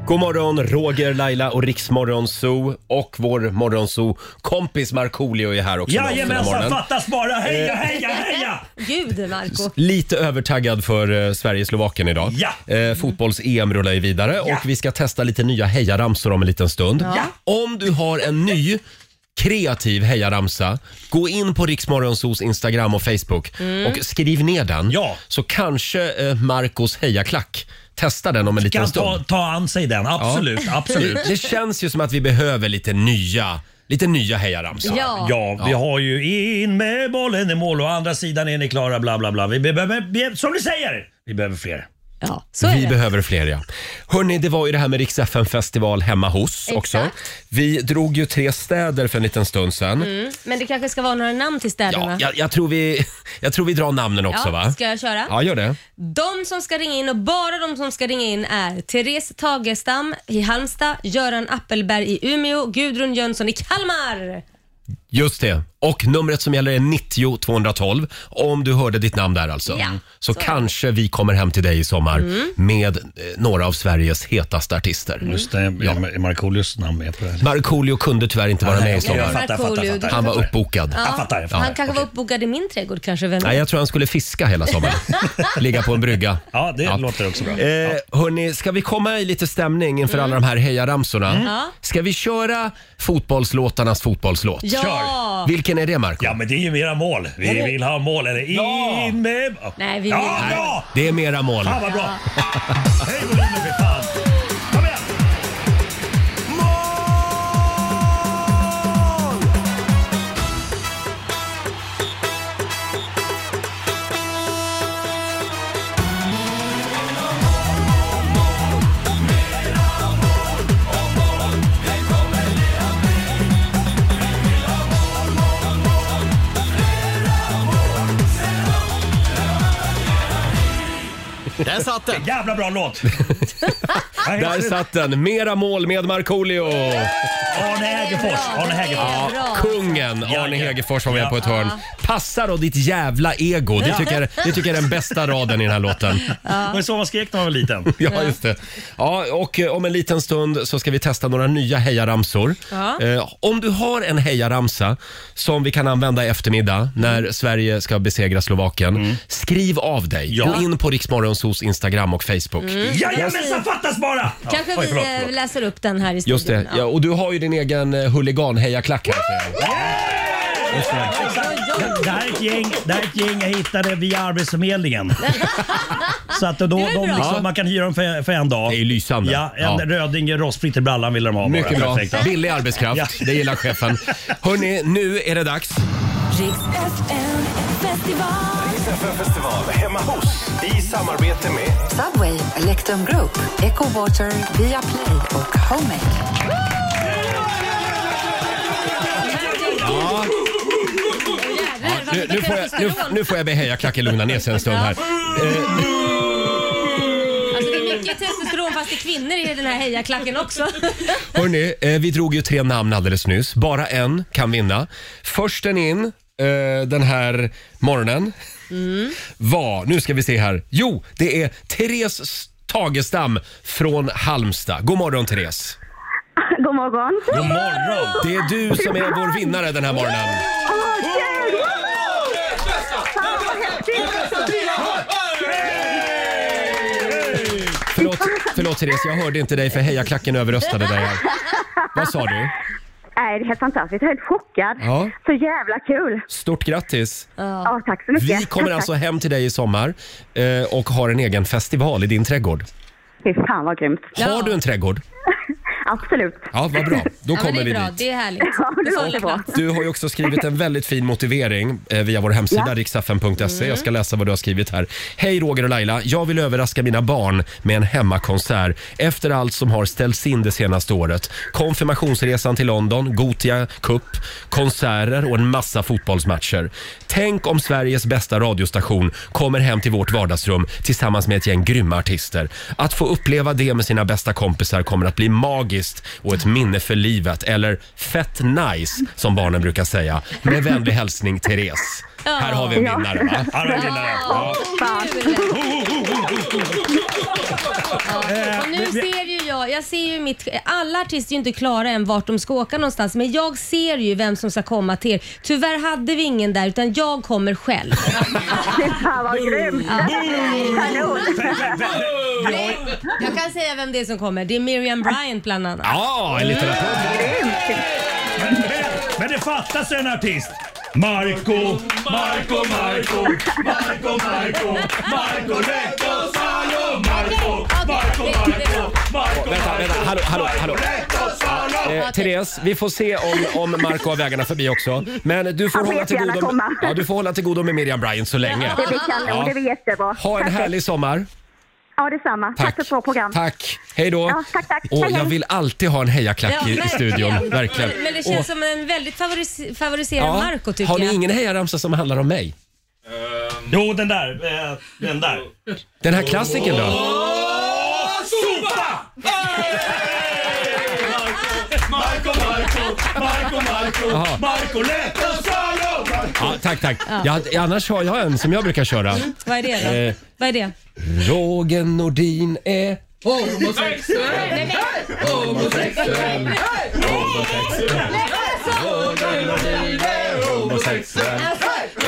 God morgon, Roger, Laila och Riksmorgon Zoo och vår morgonzoo kompis Markoolio är här också. med oss den här Jajamensan, morgonen. fattas bara. Heja, Eh. heja, heja! Gud, Marco. Lite övertaggad för eh, Sverige-Slovakien idag. Eh, Fotbolls-EM rullar ju vidare och vi ska testa lite nya hejaramsor om en liten stund. Ja. Om du har en ny kreativ hejaramsa, gå in på Riksmorgonsos Instagram och Facebook Mm. och skriv ner den. Ja. Så kanske eh, Marcos hejaklack Testa den om en liten Kan stund. ta, ta an sig den, absolut. Ja. absolut. Det, det känns ju som att vi behöver lite nya, lite nya hejaramsor. Ja. vi har ju in med bollen i mål och å andra sidan är ni klara bla bla bla. Vi behöver, vi- som ni säger, vi behöver fler. Ja, vi behöver fler ja. Hörni, det var ju det här med Rix FM festival hemma hos också. Vi drog ju tre städer för en liten stund sedan. Mm. Men det kanske ska vara några namn till städerna. Jag, jag, tror vi, jag tror vi drar namnen också Ja, va? Ska jag köra? Ja, gör det. De som ska ringa in och bara de som ska ringa in är Therese Tagestam i Halmstad, Göran Appelberg i Umeå, Gudrun Jönsson i Kalmar. Just det. Och numret som gäller är 90 212. Om du hörde ditt namn där alltså. Ja, så kanske vi kommer hem till dig i sommar Mm. med eh, några av Sveriges hetaste artister. Just det, är Markoolios namn med på det? Markoolio kunde tyvärr inte vara Nej, med i okej, sommar. jag fattar, jag fattar, jag fattar. Han var Jag fattar. uppbokad. Ja, Han kanske var uppbokad i min trädgård kanske. Vem vet? Nej, jag tror han skulle fiska hela sommaren. Ligga på en brygga. Ja, det låter också bra. Eh, hörni, ska vi komma i lite stämning inför alla de här hejaramsorna? Mm. Ja. Ska vi köra fotbollslåtarnas fotbollslåt? Ja. Kör. Vilken är det, Marco? Ja, men det är ju mera mål. Vi vill ha mål. Eller in med... Nej, vi Ja, vill- bra! Det är mera mål. Fan vad bra! Där satt den! Jävla bra låt! Där satt den. Mera mål med Markoolio. Arne Hägerfors. Arne Hägerfors. Ja, kungen Arne Hegerfors var med på ett hörn. Passa då ditt jävla ego. Det tycker, jag- det tycker jag är den bästa raden i den här låten. Det var så man skrek när man var liten. Ja, just det. Ja, och eh, om en liten stund så ska vi testa några nya hejaramsor. Ja. Eh, om du har en hejaramsa som vi kan använda i eftermiddag när Mm. Sverige ska besegra Slovakien, skriv av dig. Gå in på Riksmorgonsos Instagram och Facebook. Mm. Jajamensan, fattas bara! Kanske Oj, vi förlåt, eh, förlåt. läser upp den här i studion. Just det. Ja, och du har ju din egen eh, huligan-hejaklack här. ser jag. Just det. Det- Det här är ett gäng, det här är ett gäng jag hittade via Arbetsförmedlingen. Så att då, Det är de bra. liksom, man kan hyra dem för, för en dag. Det är lysande. Ja, en Ja. röding rostfritt i brallan vill de ha. bara. Mycket bra. Perfekt. Billig arbetskraft. Det gillar chefen. Hörni, nu är det dags. Riks FM festival. Riks FM festival hemma hos i samarbete med Subway, Electrum Group, Echo Water, Viaplay och Homemade. Ja, Nu, nu, får jag, nu, nu får jag be hejaklacken lugna ner sig en stund här. Eh, Alltså det är mycket testosteron fast det är kvinnor i den här hejaklacken också. hörni, eh, vi drog ju tre namn alldeles nyss. Bara en kan vinna. Försten in eh, den här morgonen Mm. var, nu ska vi se här. Jo, det är Therese Tagestam från Halmstad. God morgon Therese. God morgon. God morgon. Det är du som är vår vinnare den här morgonen. Åh, kul! Fan, vad häftigt! Förlåt, förlåt Therese, jag hörde inte dig för hejaklacken överröstade dig. här. Vad sa du? Nej, det är helt fantastiskt. Jag är helt chockad. Ja. Så jävla kul. Stort grattis! Ja, tack så mycket. Vi kommer Tack. alltså hem till dig i sommar eh, och har en egen festival i din trädgård. Fy fan vad grymt. Har du en trädgård? Absolut. Ja, vad bra. Då Ja, men kommer vi dit. det är härligt. Ja, det låter bra. Du har ju också skrivit en väldigt fin motivering eh, via vår hemsida Ja. riksfn.se. Jag ska läsa vad du har skrivit här. Hej Roger och Laila. Jag vill överraska mina barn med en hemmakonsert efter allt som har ställts in det senaste året. Konfirmationsresan till London, Gotia Cup, konserter och en massa fotbollsmatcher. Tänk om Sveriges bästa radiostation kommer hem till vårt vardagsrum tillsammans med ett gäng grymma artister. Att få uppleva det med sina bästa kompisar kommer att bli magiskt och ett minne för livet. Eller fett nice, som barnen brukar säga. Med vänlig hälsning, Therese. Här har vi en Ja. vinnare, va? Här har vi en vinnare. Ja. Fan. Eh, Ja, och nu ser ju jag, jag ser ju mitt, alla artister är ju inte klara än vart de ska åka någonstans men jag ser ju vem som ska komma till er. Tyvärr hade vi ingen där utan jag kommer själv. Fan vad grymt. Kanon. Jag kan säga vem det är som kommer. Det är Miriam Bryant bland annat. Mm. Ja, en liten applåd. Men det fattas en artist. Marco, Marco, Marco, Marco, Marco, Marco Rettosalo, Marco, Marco, Marco, Marco. Vänta, vänta. Hallå, hallå, hallå. Eh, Therese, vi får se om, om Marco har vägarna förbi också. Men du får, Han får hålla till, jättegärna godo med, komma. ja, du får hålla till godo med Miriam Bryant så länge. Det blir kanon. Det blir jättebra. Ha en Tack. härlig sommar. Ja, detsamma. Tack, för ett bra program. Tack. Hej då. Ja, tack, tack. Och Hej, hej. jag vill alltid ha en hejaklack i, i studion. Verkligen. Men det Och- känns som en väldigt favoris- favoriserad Ja. Marco tycker Har ni jag. ingen hejaramsa som handlar om mig? Ehm, Jo, den där. eh, Den där. Den här klassiken då? Sopa! Marco, Marco, Marco, Jaha. Marco, Marco Lettosalo! Ja, tack, tack. Ja. Jag, annars har jag en som jag brukar köra. Vad är det då? Eh, Vad är det? Roger Nordin är... Homosexuell! Homosexuell! Homosexuell!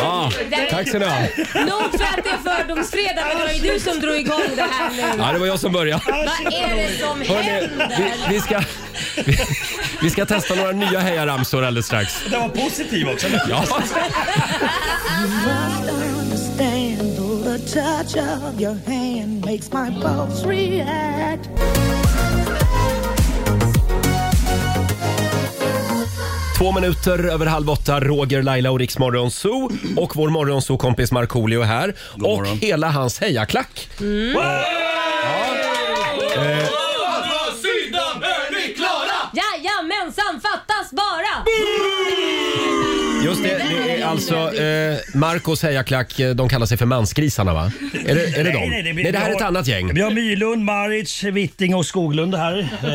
Ja, tack ska ni ha. Alltså, Nog för att det är fördomsfredag men det var ju du som drog igång det här nu. Ja, det var jag som började. Vad är det som Hörrni, vi, händer? vi, ska, vi, vi ska testa några nya hejaramsor alldeles strax. Den var positiv också. Ja. Två minuter över halv åtta, Roger, Laila och Riks Morgonzoo. Och vår Morgonzoo-kompis Markoolio är här. Och hela hans hejaklack. Mm. Eh, Jajamensan, fattas bara! Mm. Just det, det är alltså eh, Marcos hejaklack, eh, de kallar sig för mansgrisarna va? Är det, är det de? Nej, nej, nej, det här är ett annat gäng. Vi har Mylund, Maric, Witting och Skoglund här. Eh,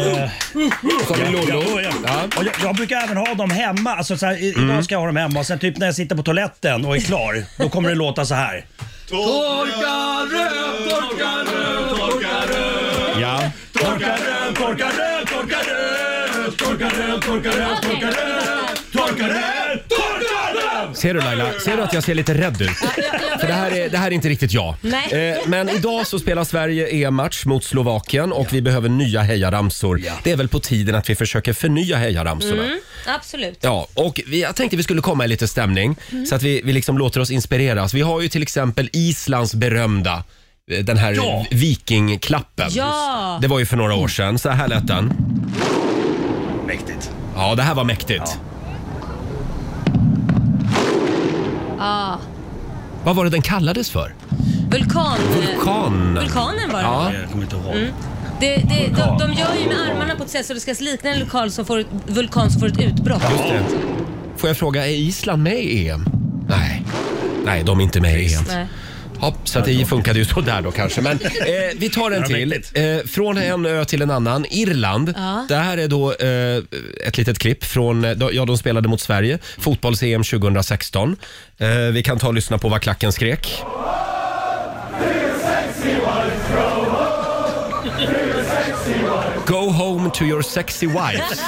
Så har vi ja, Lollo. ja, ja. Och jag, jag brukar även ha dem hemma. Alltså, så här, i- Mm. Idag ska jag ha dem hemma och sen typ när jag sitter på toaletten och är klar, då kommer det låta så här. Torka röv, torka röv, torka röv Ja. Torka röv, torka röv, torka röv Torka röv, torka röv, torka röv Torka röv, torka röv Ser du Laila, ser du att jag ser lite rädd ut? För det här är, det här är inte riktigt jag. Nej. Eh, men idag så spelar Sverige EM-match mot Slovakien och vi behöver nya hejaramsor. Det är väl på tiden att vi försöker förnya hejaramsorna. Mm, absolut. Ja, och vi, jag tänkte vi skulle komma i lite stämning Mm. så att vi, vi liksom låter oss inspireras. Vi har ju till exempel Islands berömda, eh, den här Ja. vikingklappen. Ja. Det var ju för några år sedan. Så här lät den. Mäktigt. Ja, det här var mäktigt. Ah, Vad var det den kallades för? vulkan. Vulkan. Vulkanen var det Mm. ja. va? Jag kommer inte ihåg. Det, det, de, de gör ju med armarna på ett sätt så det ska likna en lokal som får ett, vulkan som får ett utbrott. Just det. Får jag fråga, är Island med i EM? Nej. Nej, de är inte med i EM. Nej. Hopp, så att det funkade ju sådär då kanske. Men eh, vi tar en till. Eh, från en ö till en annan. Irland. Ja. Det här är då eh, ett litet klipp från, eh, ja de spelade mot Sverige, fotbolls-EM 2016. Eh, vi kan ta och lyssna på vad klacken skrek. Go home to your sexy wives,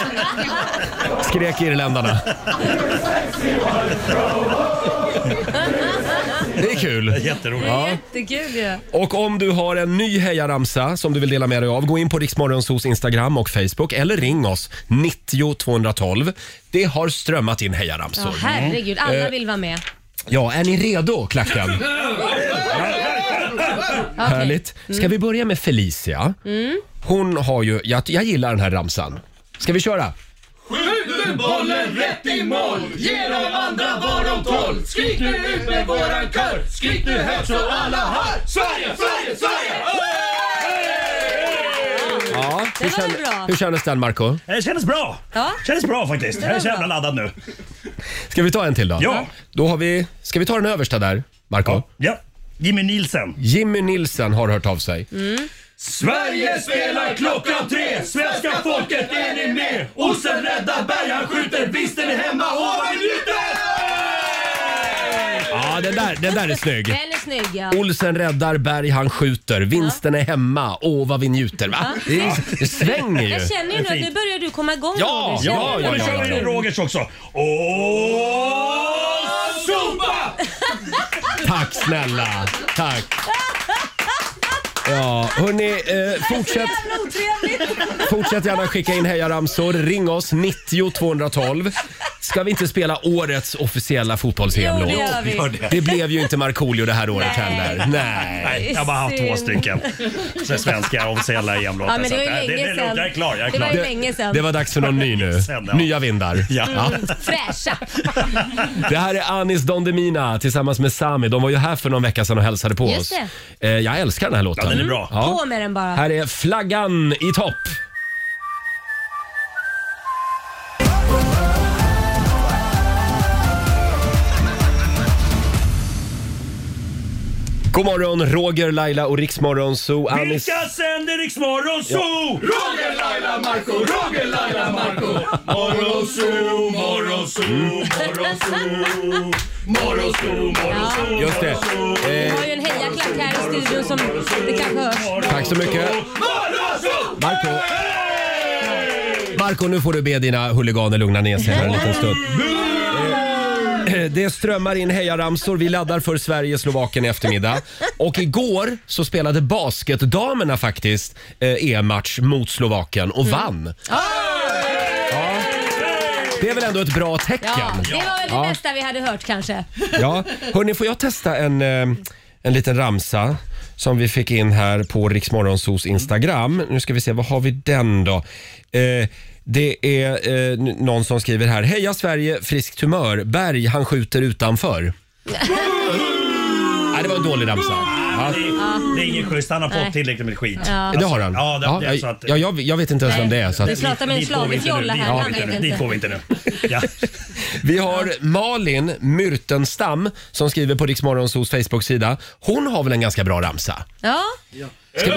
skrek irländarna. Det är kul. Jätteroligt. Jättekul ju. Och om du har en ny hejaramsa som du vill dela med dig av, gå in på Riksmorgonsos Instagram och Facebook eller ring oss 90 212. Det har strömmat in Ja, hejaramsor. herregud, alla Eh, vill vara med. Ja, är ni redo klacken? Okej. Mm. Härligt. Ska vi börja med Felicia? Mm. Hon har ju, jag, jag gillar den här ramsan. Ska vi köra? Skjuter bollen rätt i mål, ge de andra vad de tål. Skrik nu ut med våran kör, skrik nu högt så alla hör. Sverige, Sverige, Sverige! Ja, Det hur, var väl kän- bra. hur kändes den Marco? Eh, Det kändes bra. Ja. kändes bra faktiskt. Det Jag är så var jävla laddad nu. Ska vi ta en till då? Ja. Då har vi, ska vi ta den översta där, Marco? Ja. Jimmy Nilsen. Jimmy Nilsen har hört av sig. Mm. Sverige spelar klockan tre, svenska folket är ni med? Osen räddar berg, han skjuter, visst är ni hemma och vad vi njuter! Ja, den där, den där är snygg. Den är snygg ja. Olsen räddar, Berg han skjuter. Vinsten är hemma. Åh, vad vi njuter. Va? Ja. Det, det svänger ju. Jag känner ju nu att nu börjar du komma igång Ja, Roger. ja, ja, Nu ja, kör vi ja. Rogers också. Åh, sopa! Tack snälla. Tack. Ja, hörni, eh, fortsätt, fortsätt gärna skicka in hejaramsor. Ring oss, 90 212. Ska vi inte spela årets officiella fotbolls Jo, låt det gör vi. Gör det. Det blev ju inte Markoolio det här året Nej. heller. Nej, Nej. jag har bara haft två stycken. Så är svenska officiella EM-låtar. Ja, men det var ju så att, äh, det länge är lugnt. sedan. Jag är klar. Jag är Det var klar. ju länge sedan. Det var dags för någon ny nu. Nya vindar. Ja. Mm, fräscha. Det här är Anis Don Demina tillsammans med Sami. De var ju här för någon vecka sedan och hälsade på Just oss. Eh, Jag älskar den här låten. Ja, den är bra. Ja. På med den bara. Här är flaggan i topp. God morgon, Roger, Laila och Riksmorgon Zoo. Anis... Vilka sänder Rix Morgon Zoo? Roger, Laila, Marco, Roger, Laila, Marco. Morgonzoo, Mm. morgonzoo, morgonzoo. Morgonzoo, morgonzoo. Just det. Vi Eh, har ju en hejarklack här i studion som det kanske hörs. Tack så mycket. Marco. Marco, nu får du be dina huliganer lugna ner sig här en liten stund. Eh, Det strömmar in hejaramsor. Vi laddar för Sverige-Slovakien i eftermiddag. Och igår så spelade basketdamerna faktiskt eh, EM-match mot Slovakien och Mm. vann. Ja. Det är väl ändå ett bra tecken? Ja, det var väl det Ja. bästa vi hade hört kanske. Ja, hörni, får jag testa en, eh, en liten ramsa som vi fick in här på Riksmorgonsos Instagram. Nu ska vi se, vad har vi den då? Eh, det är eh, n- någon som skriver här. Heja Sverige, friskt humör. Berg, han skjuter utanför. Nej, det var en dålig ramsa. Ja. Det är- Det är ingen schysst. Han har Nej. fått tillräckligt med skit. Ja. Det har han? Ja, det, det är så jag, att, ja jag, jag vet inte ens vem det är. Så Vi att, pratar med en Dit går vi schlagig inte nu. fjolla Dit här. går Han vi inte nu. vet Dit inte. går vi inte nu. Ja. Vi har Malin Myrtenstam som skriver på Riksmorgonsos Facebook-sida. Hon har väl en ganska bra ramsa? Ja. He-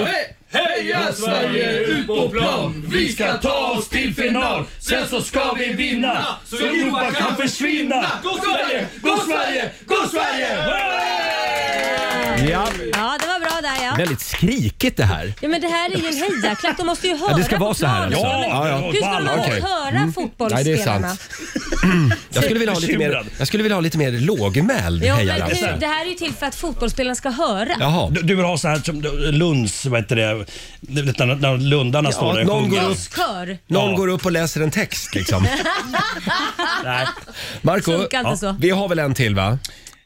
Heja Sverige ut på plan! Vi ska ta oss till final! Sen så ska vi vinna! Så Europa kan försvinna! Gå Sverige! Gå Sverige! Gå Sverige! Ja. Ja, det var bra där ja. Väldigt skrikigt det här. Ja men det här är ju en hejarklack, de måste ju höra Ja, det ska vara så här på planen. alltså. Ja, ja. Hur ska de annars Okej. höra Mm. fotbollsspelarna? Nej, det är sant. Jag skulle vilja ha lite mer, Bekymrad. jag skulle vilja ha lite mer lågmäld Ja, men hejaramsa. hur, det här är ju till för att fotbollsspelarna ska höra. Du, du vill ha så här som Lunds, vad heter det, det- när, när lundarna Ja, står där och någon sjunger. går upp. Buskör. Någon går upp och läser en text liksom. Nej. Marco, Funkar inte så. vi har väl en till va?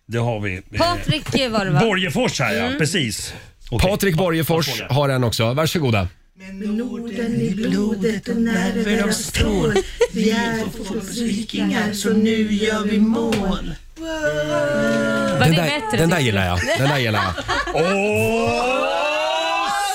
Det har vi. Eh, eh, Patrik var det va? Borgefors här ja, Mm. precis. Patrik Borgefors har en också. Varsågoda. Norden i blodet och nerver av stål. Vi är fotbollsvikingar så nu gör vi mål. Var Den det där, bättre? den där gillar jag. Den där gillar jag. Åh,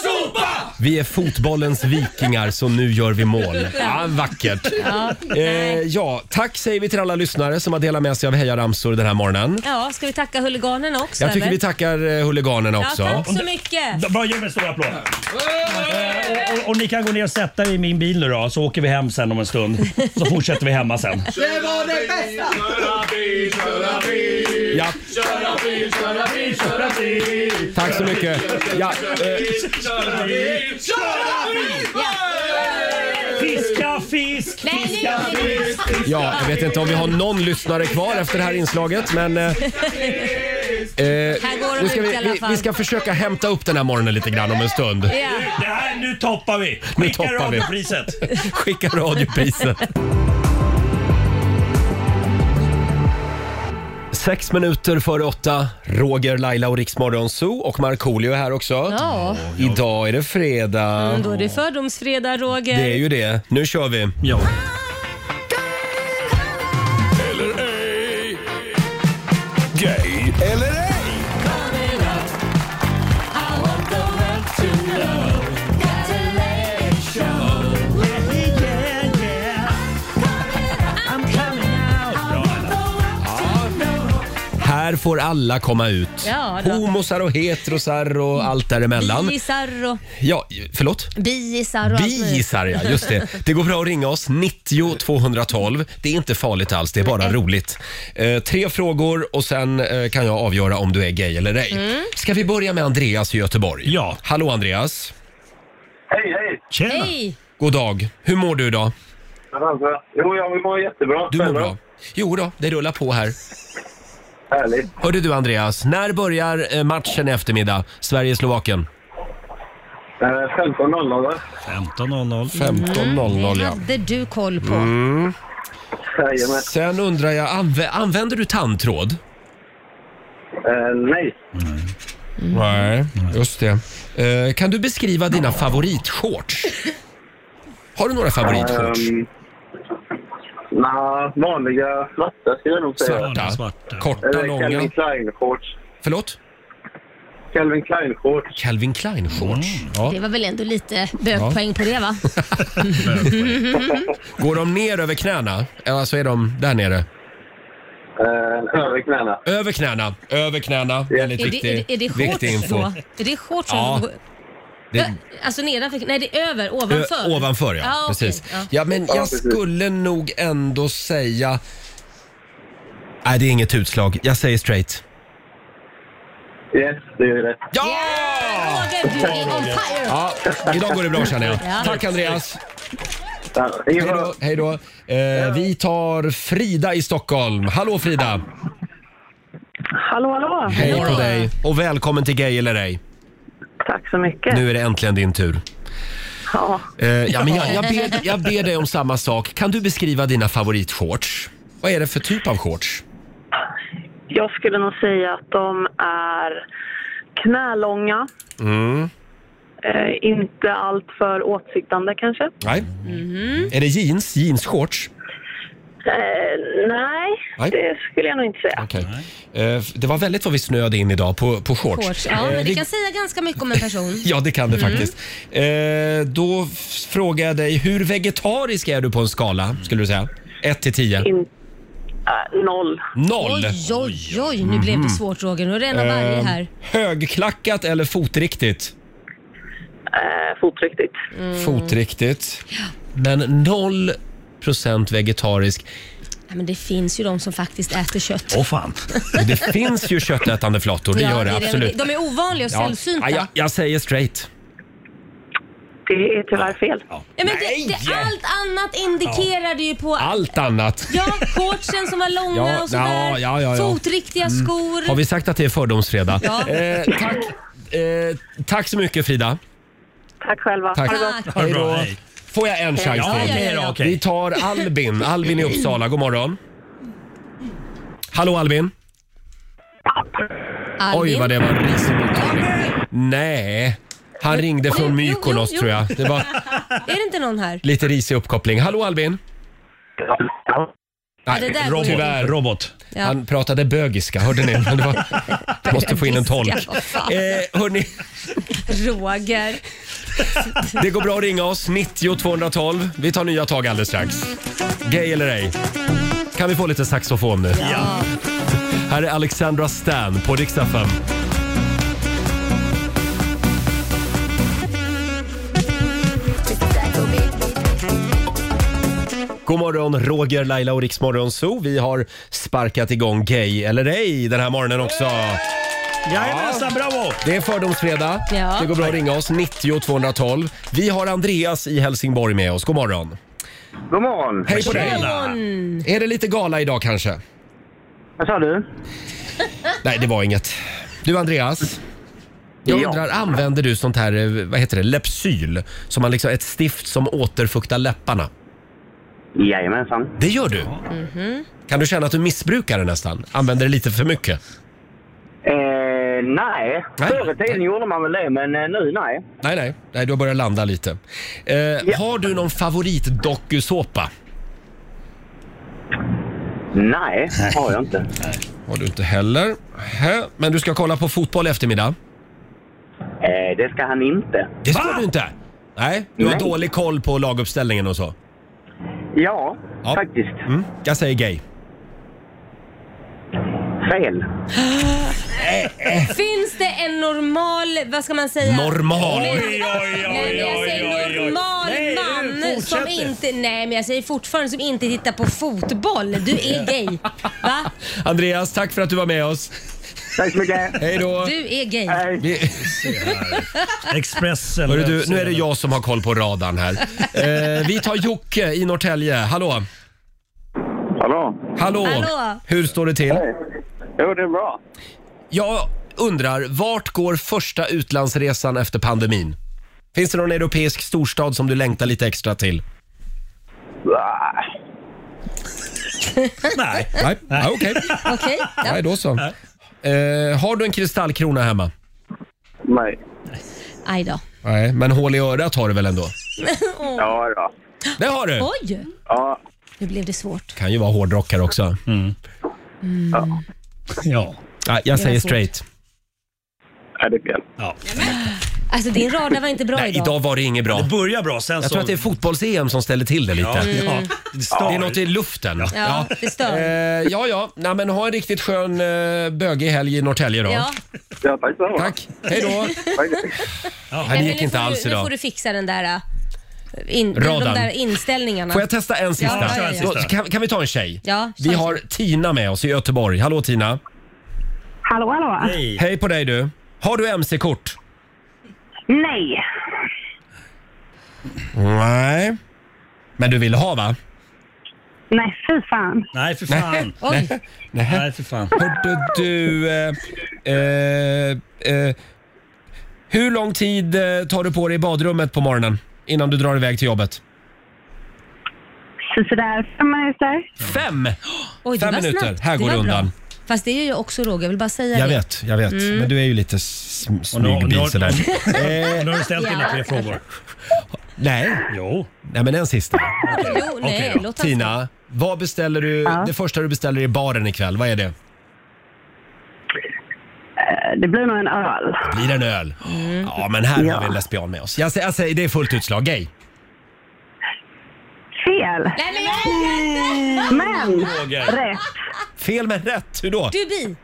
sopa! Vi är fotbollens vikingar, så nu gör vi mål. Ja, vackert. Ja. Eh, ja, tack säger vi till alla lyssnare som har delat med sig av hejaramsor den här morgonen. Ja, ska vi tacka huliganerna också? Jag tycker eller? vi tackar eh, huliganerna också. Ja, tack så mycket. Bra, ge mig en stor applåd. Eh, Och, och, och ni kan gå ner och sätta er i min bil nu då, så åker vi hem sen om en stund. Så fortsätter vi hemma Eh, sen. Det var det bästa! Köra bil, köra bil. Ja. Köra bil, köra bil, köra bil. Tack så mycket. Ja, eh, Köra bil, köra bil. Fiska fisk, fiska fisk. Ja, jag vet inte om vi har någon lyssnare kvar efter det här inslaget, men... Eh, eh, Här går de nu ska ut vi, i alla vi, fall. vi ska försöka hämta upp den här morgonen lite grann om en stund. Nu, det här, nu toppar vi! Nu Skicka toppar vi. radiopriset. Skicka radiopriset. Sex minuter före åtta, Roger, Laila och Riksmorgon Zoo och Markoolio är här också. Ja. Idag är det fredag. Men då är det fördomsfredag, Roger. Det är ju det. Nu kör vi. Ja. Gay eller ej? Här får alla komma ut. Ja, det var- Homosar och heterosar och allt däremellan. Biisar och... Ja, förlåt? Biisar och allt möjligt. Biisar ja, just det. Det går bra att ringa oss, 90 212. Det är inte farligt alls, det är bara roligt. Eh, tre frågor och sen eh, kan jag avgöra om du är gay eller ej. Ska vi börja med Andreas i Göteborg? Ja. Hallå Andreas. Hej, hej! Hej! God dag. Hur mår du idag? Men alltså, Jo, jag mår jättebra. Du mår Själv då? bra? Jo då, det rullar på här. Härligt. Hörde du Andreas, när börjar eh, matchen i eftermiddag? Sverige-Slovakien? Eh, 15.00 va? 15.00. 15.00 Mm, Det ja. hade du koll på. Mm. Jajamän. Sen undrar jag, anv- använder du tandtråd? Eh, nej. Mm. Nej, just det. Eh, kan du beskriva dina favoritshorts? Har du några favoritshorts? Ehm, Nja, vanliga svarta skulle jag nog säga. Svarta. Svarta. Korta, Eller långa. Calvin Klein-shorts. Förlåt? Calvin Klein-shorts. Calvin Klein-shorts? Ja. Det var väl ändå lite bögpoäng på det va? Går de ner över knäna? Alltså är de där nere? Eh, över knäna. Över knäna. Över knäna. Väldigt är, det, är, viktig, det, är det shorts viktig info. då? Är det shorts som Ja. går- Det, Alltså nedanför? Nej, det är över. Ö, Ovanför? Eh, Ah, ovanför ja, okej, precis. ja. Ja. men jag skulle nog ändå säga... Nej, det är inget utslag. Jag säger straight. Yes, det är rätt. Ja! Roger, du är on fire! Ja, idag går det bra känner jag. Ja. Tack Andreas. Hej då. Hej då. Eh, vi tar Frida i Stockholm. Hallå Frida! Hallå, hallå! Hej på dig och välkommen till Gay eller ej. Tack så mycket. Nu är det äntligen din tur. Ja. Eh, ja, men jag, jag, ber, jag ber dig om samma sak. Kan du beskriva dina favoritshorts? Vad är det för typ av shorts? Jag skulle nog säga att de är knälånga. Mm. Eh, inte allt för åtsiktande kanske. Nej. Mm. Mhm. Är det jeans? Jeansshorts? Eh, nej, Nej. det skulle jag nog inte säga. Okej. Eh, det var väldigt vad vi snöade in idag på, på shorts. Shorts. Ja, Eh, men det vi- kan säga ganska mycket om en person. Ja, det kan det Mm. faktiskt. Eh, då f- frågar jag dig, hur vegetarisk är du på en skala, skulle du säga? 1 till 10? Eh, noll. Noll! Oj, oj, oj. Nu blev det Mhm. svårt Roger. Nu är det en av varje Eh, här. högklackat eller fotriktigt? Mm. Eh, fotriktigt. Mm. Fotriktigt. Men noll procent vegetarisk. Ja, men det finns ju de som faktiskt äter kött. Åh fan. Det finns ju köttätande flator, det Ja, gör det, är absolut. De är ovanliga och sällsynta. Ja, jag, jag säger straight. Det är tyvärr fel. Ja, men det, det, allt annat indikerade ju på... Allt annat. Ja, shortsen som var långa Ja, och sådär. ja, ja, ja, ja. Fotriktiga Mm. skor. Har vi sagt att det är fördomsfredag? Ja. Eh, tack, eh, tack så mycket Frida. Tack själva. Tack. Ha det gott. Hej då. Får jag en Hej. chans Ja, till? okej då, okej. Vi tar Albin. Albin i Uppsala. God morgon. Hallå Albin. Oj vad det var risig mottagning. Nej. Han ringde från Mykonos tror jag. Det var Är det inte någon här? lite risig uppkoppling. Hallå Albin. Ja, det där går inte. tyvärr. Robot. Ja. Han pratade bögiska, hörde ni? Men det var, måste få in en tolk. Bögiska, vad fan. Eh, hörni, Roger. Det går bra att ringa oss, 90 212. Vi tar nya tag alldeles strax. Gay eller ej? Kan vi få lite saxofon nu? Ja. Här är Alexandra Stan på Rix FM. God morgon, Roger, Laila och Riksmorgon Zoo. Vi har sparkat igång Gay eller ej den här morgonen också. Jajamensan, bravo! Det är Fördomsfredag. Ja. Det går bra att ringa oss, 90 212. Vi har Andreas i Helsingborg med oss. God morgon. God morgon. Hej på dig. Tjena. Är det lite gala idag kanske? Vad sa du? Nej, det var inget. Du Andreas. Jag Ja. undrar, använder du sånt här, eh, vad heter det, Lepsyl? Som man liksom, ett stift som återfuktar läpparna? Jajamensan. Det gör du? Mhm. Kan du känna att du missbrukar det nästan? Använder det lite för mycket? Eh, nej. Förr i tiden gjorde man väl det, men eh, nu nej. Nej, nej. nej du har börjat landa lite. Eh, Har du någon favoritdokusåpa? Nej, har jag inte. Har du inte heller. Hä? Men du ska kolla på fotboll i eftermiddag? Eh, det ska han inte. Det ska du inte? Nej, du har Nej. dålig koll på laguppställningen och så? Ja, Ja. faktiskt. Mm. Jag säger gay. Fel. Finns det en normal, vad ska man säga? Normal. Nej, Oj, Nej, men jag säger normal man som inte, nej men jag säger fortfarande som inte tittar på fotboll. Du är gay. Va? Andreas, tack för att du var med oss. Tack så mycket. Hej då. Du är gay. Vi- Expressen. Hörru du, nu är det jag som har koll på radarn här. Eh, vi tar Jocke i Norrtälje. Hallå! Hallå! Hallå! Hallå. Hur står det till? Jo, det är bra. Jag undrar, vart går första utlandsresan efter pandemin? Finns det någon europeisk storstad som du längtar lite extra till? Nej. Nej, ja, okej. Okej. Nej, då så. Eh, har du en kristallkrona hemma? Nej. Aj då. Nej, men hål i örat har du väl ändå? Åh. Ja, då. Det har du! Oj! Ja. Nu blev det svårt. Kan ju vara hårdrockare också. Mm. Ja. Nej, jag Det säger var svårt. straight. Är det fel? Ja. Alltså din radar var inte bra Nej, idag. idag var det inget bra. Det börjar bra, sen jag så- tror att det är fotbolls-EM som ställer till det lite. Ja, ja. Mm. Det, är något i luften. Ja, det stör. Eh, ja, ja. Nej, men ha en riktigt skön eh, bögig helg i Norrtälje då. Ja. Ja, tack så mycket. Tack. Hej då. Nej, Han men gick nu inte får alls du, Nu får idag. du fixa den där, äh, in, de Radarn. där inställningarna. Får jag testa en sista? Ja, ja, ja. Då- Kan, kan vi ta en tjej? Ja, vi kör. har Tina med oss i Göteborg. Hallå Tina. Hallå, hallå. Hej på dig du. Har du mc-kort? Nej. Nej. Men du vill ha va? Nej, fy fan. Nej, för Nej. Nej. Nej. Nej, för fan. Hörde du... Eh, eh, eh, hur lång tid eh, tar du på dig i badrummet på morgonen innan du drar iväg till jobbet? Så sådär fem minuter. Fem! Oj, det Fem var minuter. snabbt. Här går var det bra. undan. Fast det är ju också Roger, jag vill bara säga Jag det. vet, jag vet. Mm. Men du är ju lite sm- Och nu- nu smygbil har- sådär. Nu har du ställt dina tre frågor. Nej. Jo. Nej men en sista. Jo, nej, Okej då. låt han stå. Tina, vad beställer du, Ja. det första du beställer i baren ikväll, vad är det? Eh, Det blir nog en öl. Mm. Blir det en öl? Ja men här har vi en lesbian med oss. Jag säger, jag säger det är fullt utslag, gay. Fel. Men Roger. rätt. Fel men rätt, hur då? Du är bi.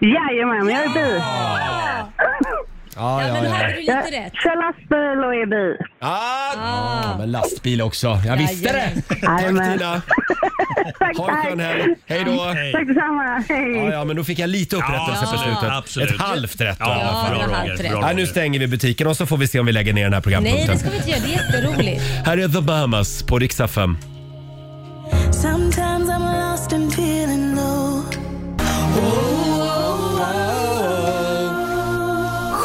Jajamän, jag är bi. Ja, ja, ja. Jag kör lastbil och är bi. Ah. Ja, men lastbil också. Jag visste det! Tack Jajamän. Tina! Tack, Ha en tack. skön helg. Hej då. Hej. Tack detsamma. Hej. Ja, ja, men då fick jag lite upprättelse Ja, på slutet. absolut. Ett halvt rätt Ja, i alla fall. bra, Ja, Roger. halvt rätt. Bra, Nej, nu Roger. stänger vi butiken och så får vi se om vi lägger ner den här Nej, det programpunkten. ska vi inte göra. Det är jätteroligt. Här är The Bahamas på riksdag 5. Sometimes I'm lost and feeling low.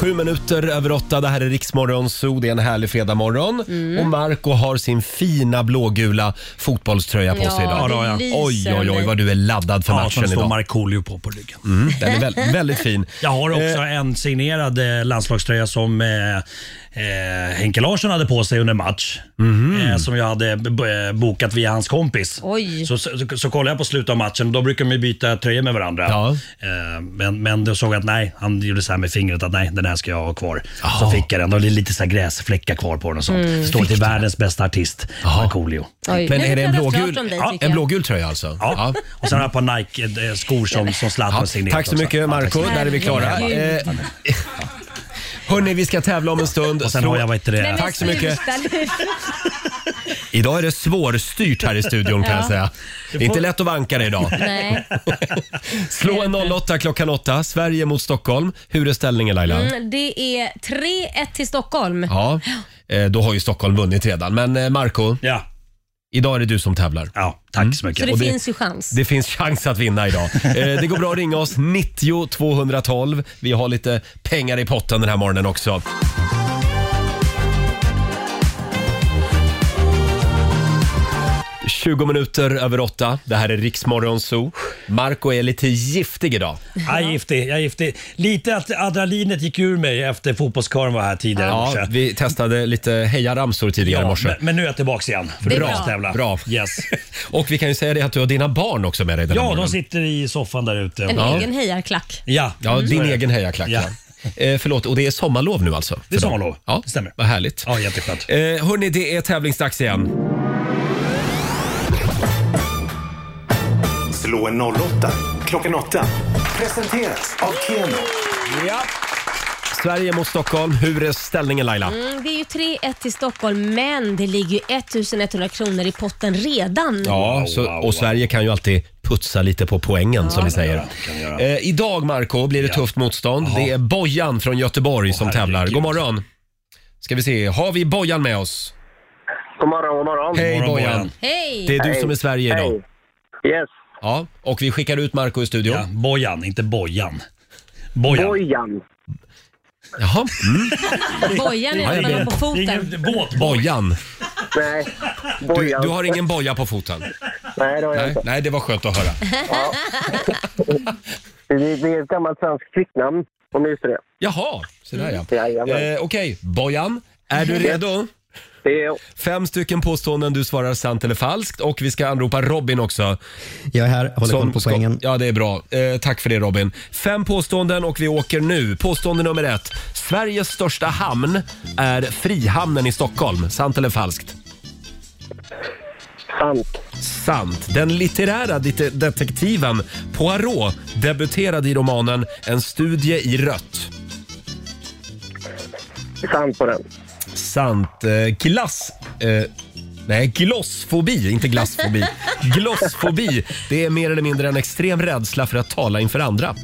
Sju minuter över åtta, det här är Riksmorgon Zoo. Det är en härlig fredagmorgon. Mm. Och Marco har sin fina blågula fotbollströja på sig Ja, idag. det Ja, då, ja. Oj, lyser oj, oj mig. vad du är laddad för Ja, som matchen står idag. Markoolio på på ryggen. Mm, den är väldigt, väldigt fin. Jag har också en signerad eh, landslagströja som eh, eh, Henke Larsson hade på sig under match. Mhm. Eh, som jag hade b- b- bokat via hans kompis. Mm. Oj. Så, så, så, så kollade jag på slutet av matchen och då brukar de ju byta tröjor med varandra. Eh, men, men då såg jag att nej, han gjorde så här med fingret att nej, den här ska jag ha kvar. Så fick jag den. Och det är lite så här gräsfläckar kvar på den och sånt. Mm. Står Fick till världens bästa artist, Markoolio. Oj, Men nu är det en pratar vi blågul- klart om dig, ja, tycker en jag. blågul tröja alltså? Ja. Och sen har jag på Nike-skor som, som Zlatan signerat. Tack så också. mycket Ja, tack Marco så mycket. där är vi klara. Herregud. Eh, Hörni, vi ska tävla om en stund. Och sen har jag, vad heter det? Nej, men Tack så mycket. sluta nu. Idag är det svårstyrt här i studion kan Ja. jag säga. Du Det får- är inte lätt att vanka det idag. Nej. Slå en 08 klockan 8. Sverige mot Stockholm. Hur är ställningen Laila? Mm, det är 3-1 till Stockholm. Ja, eh, då har ju Stockholm vunnit redan. Men eh, Marco, ja. idag är det du som tävlar. Mm. Ja, tack så Så det, finns ju chans. Det finns chans att vinna idag. Eh, Det går bra att ringa oss 90 212. Vi har lite pengar i potten den här morgonen också. ...20 minuter över åtta. Det här är Riksmorgon Zoo. Marco är lite giftig idag. Jag är giftig, jag är giftig. Lite att adrenalinet gick ur mig efter fotbollskarlen var här tidigare i Ja, morse. vi testade lite hejaramsor tidigare i morse. men, men nu är jag tillbaka igen. För Det är det är bra. tävla. Bra. Yes. Och vi kan ju säga det att du har dina barn också med dig den här Ja, de morgonen. sitter i soffan där ute. En Ja. egen hejarklack. Ja, Ja, Mm. din Så är det. egen hejarklack. Ja. Eh, förlåt, och det är sommarlov nu alltså? Det är för dem. sommarlov. Ja, det stämmer. Vad härligt. Ja, jätteskönt. Eh, hörni, det är tävlingsdags igen. Slå en 08 klockan 8. Presenteras av Keno. Ja. Sverige mot Stockholm. Hur är ställningen Laila? Mm, det är ju 3-1 till Stockholm, men det ligger ju 1100 kronor i potten redan. Ja, så, och Sverige kan ju alltid putsa lite på poängen som vi säger. Eh, idag Marco blir det tufft motstånd. Det är Bojan från Göteborg som tävlar. God morgon! Ska vi se, har vi Bojan med oss? God morgon, god morgon. Hej Bojan! Hej! Det är du som är Sverige idag. Yes. Ja, och vi skickar ut Marco i studion. Bojan, inte Bojan. Bojan. Bojan. Jaha. Mm. Bojan är Ja, när man det- har på foten. båt. Bojan. Nej. Du, du har ingen boja på foten? Nej, det har jag Nej, inte. nej, det var skönt att höra. Det är det är ett gammalt svenskt flicknamn, om ni visste det. Jaha, så där Mm. ja. Jajamän. Eh, Okej, Bojan, är du redo? Det är Fem stycken påståenden du svarar sant eller falskt och vi ska anropa Robin också. Jag är här, håller koll på ska- poängen. Ja, det är bra. Eh, tack för det Robin. Fem påståenden och vi åker nu. Påstående nummer ett. Sveriges största hamn är Frihamnen i Stockholm. Sant eller falskt? Sant. Sant. Den litterära det- detektiven Poirot debuterade i romanen En studie i rött. sant på den. Sant. Eh, glass... Eh, nej, glossfobi, inte glassfobi. glossfobi, det är mer eller mindre en extrem rädsla för att tala inför andra.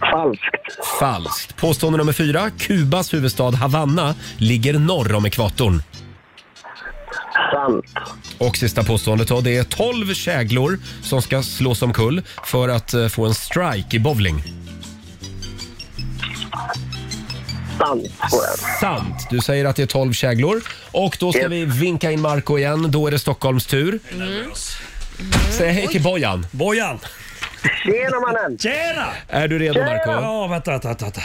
Falskt. Falskt. Påstående nummer fyra. Kubas huvudstad Havanna ligger norr om ekvatorn. Sant. Och sista påståendet då. Det är 12 käglor som ska slås omkull för att eh, få en strike i bowling. Sant på den. Sant. Du säger att det är 12 käglor. Och då ska vi vinka in Marco igen. Då är det Stockholms tur. Mm. Mm. Säg hej till Bojan. Bojan! Tjena mannen! Tjena! Är du redo Marco? Ja, vänta, vänta, vänta, vänta.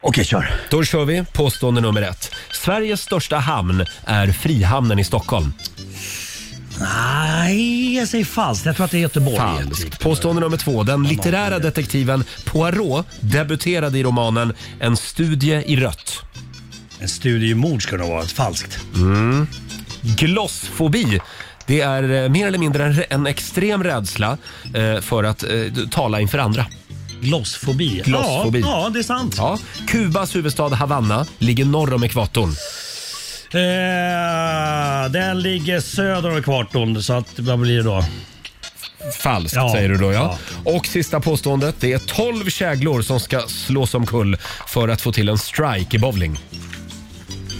Okej, kör. Då kör vi. Påstående nummer ett. Sveriges största hamn är Frihamnen i Stockholm. Nej, jag säger falskt. Jag tror att det är Göteborg. Falskt. Påstående nummer två. Den litterära detektiven Poirot debuterade i romanen En studie i rött. En studie i mord skulle det ha varit. Falskt. Mm. Glossfobi. Det är eh, mer eller mindre en, en extrem rädsla eh, för att eh, d- tala inför andra. Glossfobi. Glossfobi. Ja, ja, det är sant. Ja. Kubas huvudstad Havanna ligger norr om ekvatorn. Eh, den ligger söder om kvarton, så att, vad blir det då? Falskt säger du då ja. Och sista påståendet. Det är 12 käglor som ska slås omkull för att få till en strike i bowling.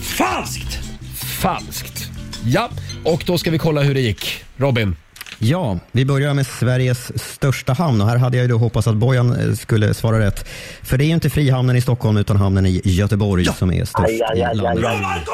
Falskt! Falskt. Ja, och då ska vi kolla hur det gick. Robin? Ja, vi börjar med Sveriges största hamn och här hade jag ju då hoppats att Bojan eh, skulle svara rätt. För det är ju inte Frihamnen i Stockholm utan hamnen i Göteborg som är störst Aj, aj, aj, i landet. aj, aj.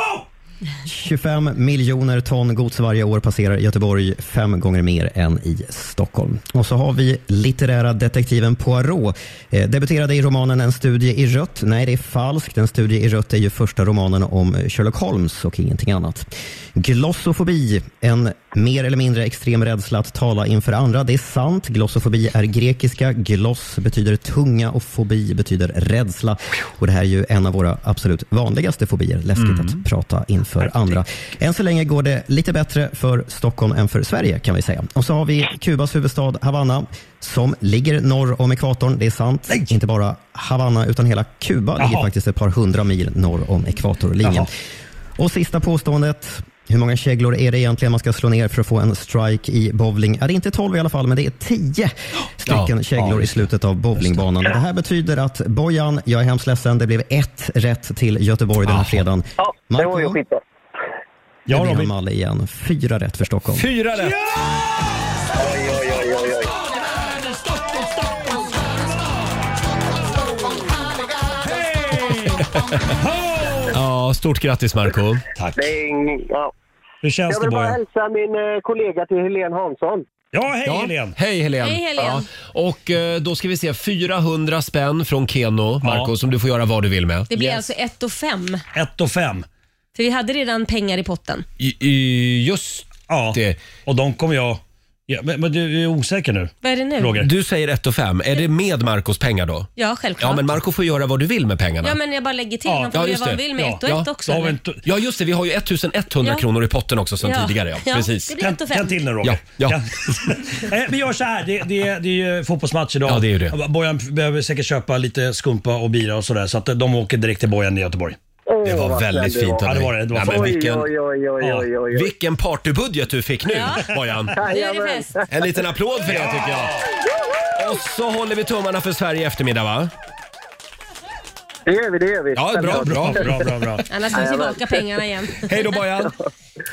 25 miljoner ton gods varje år passerar Göteborg, fem gånger mer än i Stockholm. Och så har vi litterära detektiven Poirot. Eh, debuterade i romanen En studie i rött. Nej, det är falskt. En studie i rött är ju första romanen om Sherlock Holmes och ingenting annat. Glossofobi, en mer eller mindre extrem rädsla att tala inför andra. Det är sant. Glossofobi är grekiska. Gloss betyder tunga och fobi betyder rädsla. Och det här är ju en av våra absolut vanligaste fobier. Läskigt Mm. att prata inför andra. Än så länge går det lite bättre för Stockholm än för Sverige kan vi säga. Och så har vi Kubas huvudstad Havanna som ligger norr om ekvatorn. Det är sant. Inte bara Havanna utan hela Kuba ligger Jaha. faktiskt ett par hundra mil norr om ekvatorlinjen. Jaha. Och sista påståendet. Hur många käglor är det egentligen man ska slå ner för att få en strike i bowling? Ja, det är inte 12 i alla fall, men det är 10 stycken Ja, käglor ja, i just det. slutet av bowlingbanan. Det här betyder att Bojan, jag är hemskt ledsen, det blev ett rätt till Göteborg den här fredagen. Ja, det var ju skitbra. Ja, det blir Malle igen. Fyra rätt för Stockholm. Fyra rätt! Oj, oj, oj, oj, oj. Ja, stort grattis Marco Tack. Det är ing- ja. Hur känns Jag det vill bara Bojan? hälsa min eh, kollega till Helene Hansson. Ja, hej Ja. Helene. Hej Helen. Hej, Helen. Ja. Och eh, då ska vi se 400 spänn från Keno, Marco, som du får göra vad du vill med. Det blir alltså 1 och 5. 1 och 5. För vi hade redan pengar i potten. I, i, just ja. det. Och de kommer jag... Ja, men, men du är osäker nu? Vad är det nu? Roger. Du säger 1 5. Är det med Marcos pengar då? Ja, självklart. Ja, men Marco får göra vad du vill med pengarna. Ja, men jag bara lägger till. Han får göra vad han vill med 1 och 1 också. Ja, eller? men- ja, just det. Vi har ju 1100 Ja. kronor i potten också sen Ja. tidigare. Ja. Ja, Precis. det blir ett och fem. Kan till nu Roger. Ja. Eh, Vi gör så här, det, det, det är ju fotbollsmatch idag. Ja, det är ju det. Bojan behöver säkert köpa lite skumpa och bira och sådär, så att de åker direkt till Bojan i Göteborg. Det var vad väldigt snäll du fint var. av Ja, det dig. var det. Det var Nej, men fint. vilken, Oj, oj, oj, oj, oj, oj. vilken partybudget du fick nu, Bojan. Nu är det fest. En liten applåd för det tycker jag. Och så håller vi tummarna för Sverige i eftermiddag va? Det gör vi, det gör vi. Ja, bra, bra, bra, bra, bra. Annars får vi tillbaka pengarna igen. Hej då Bojan!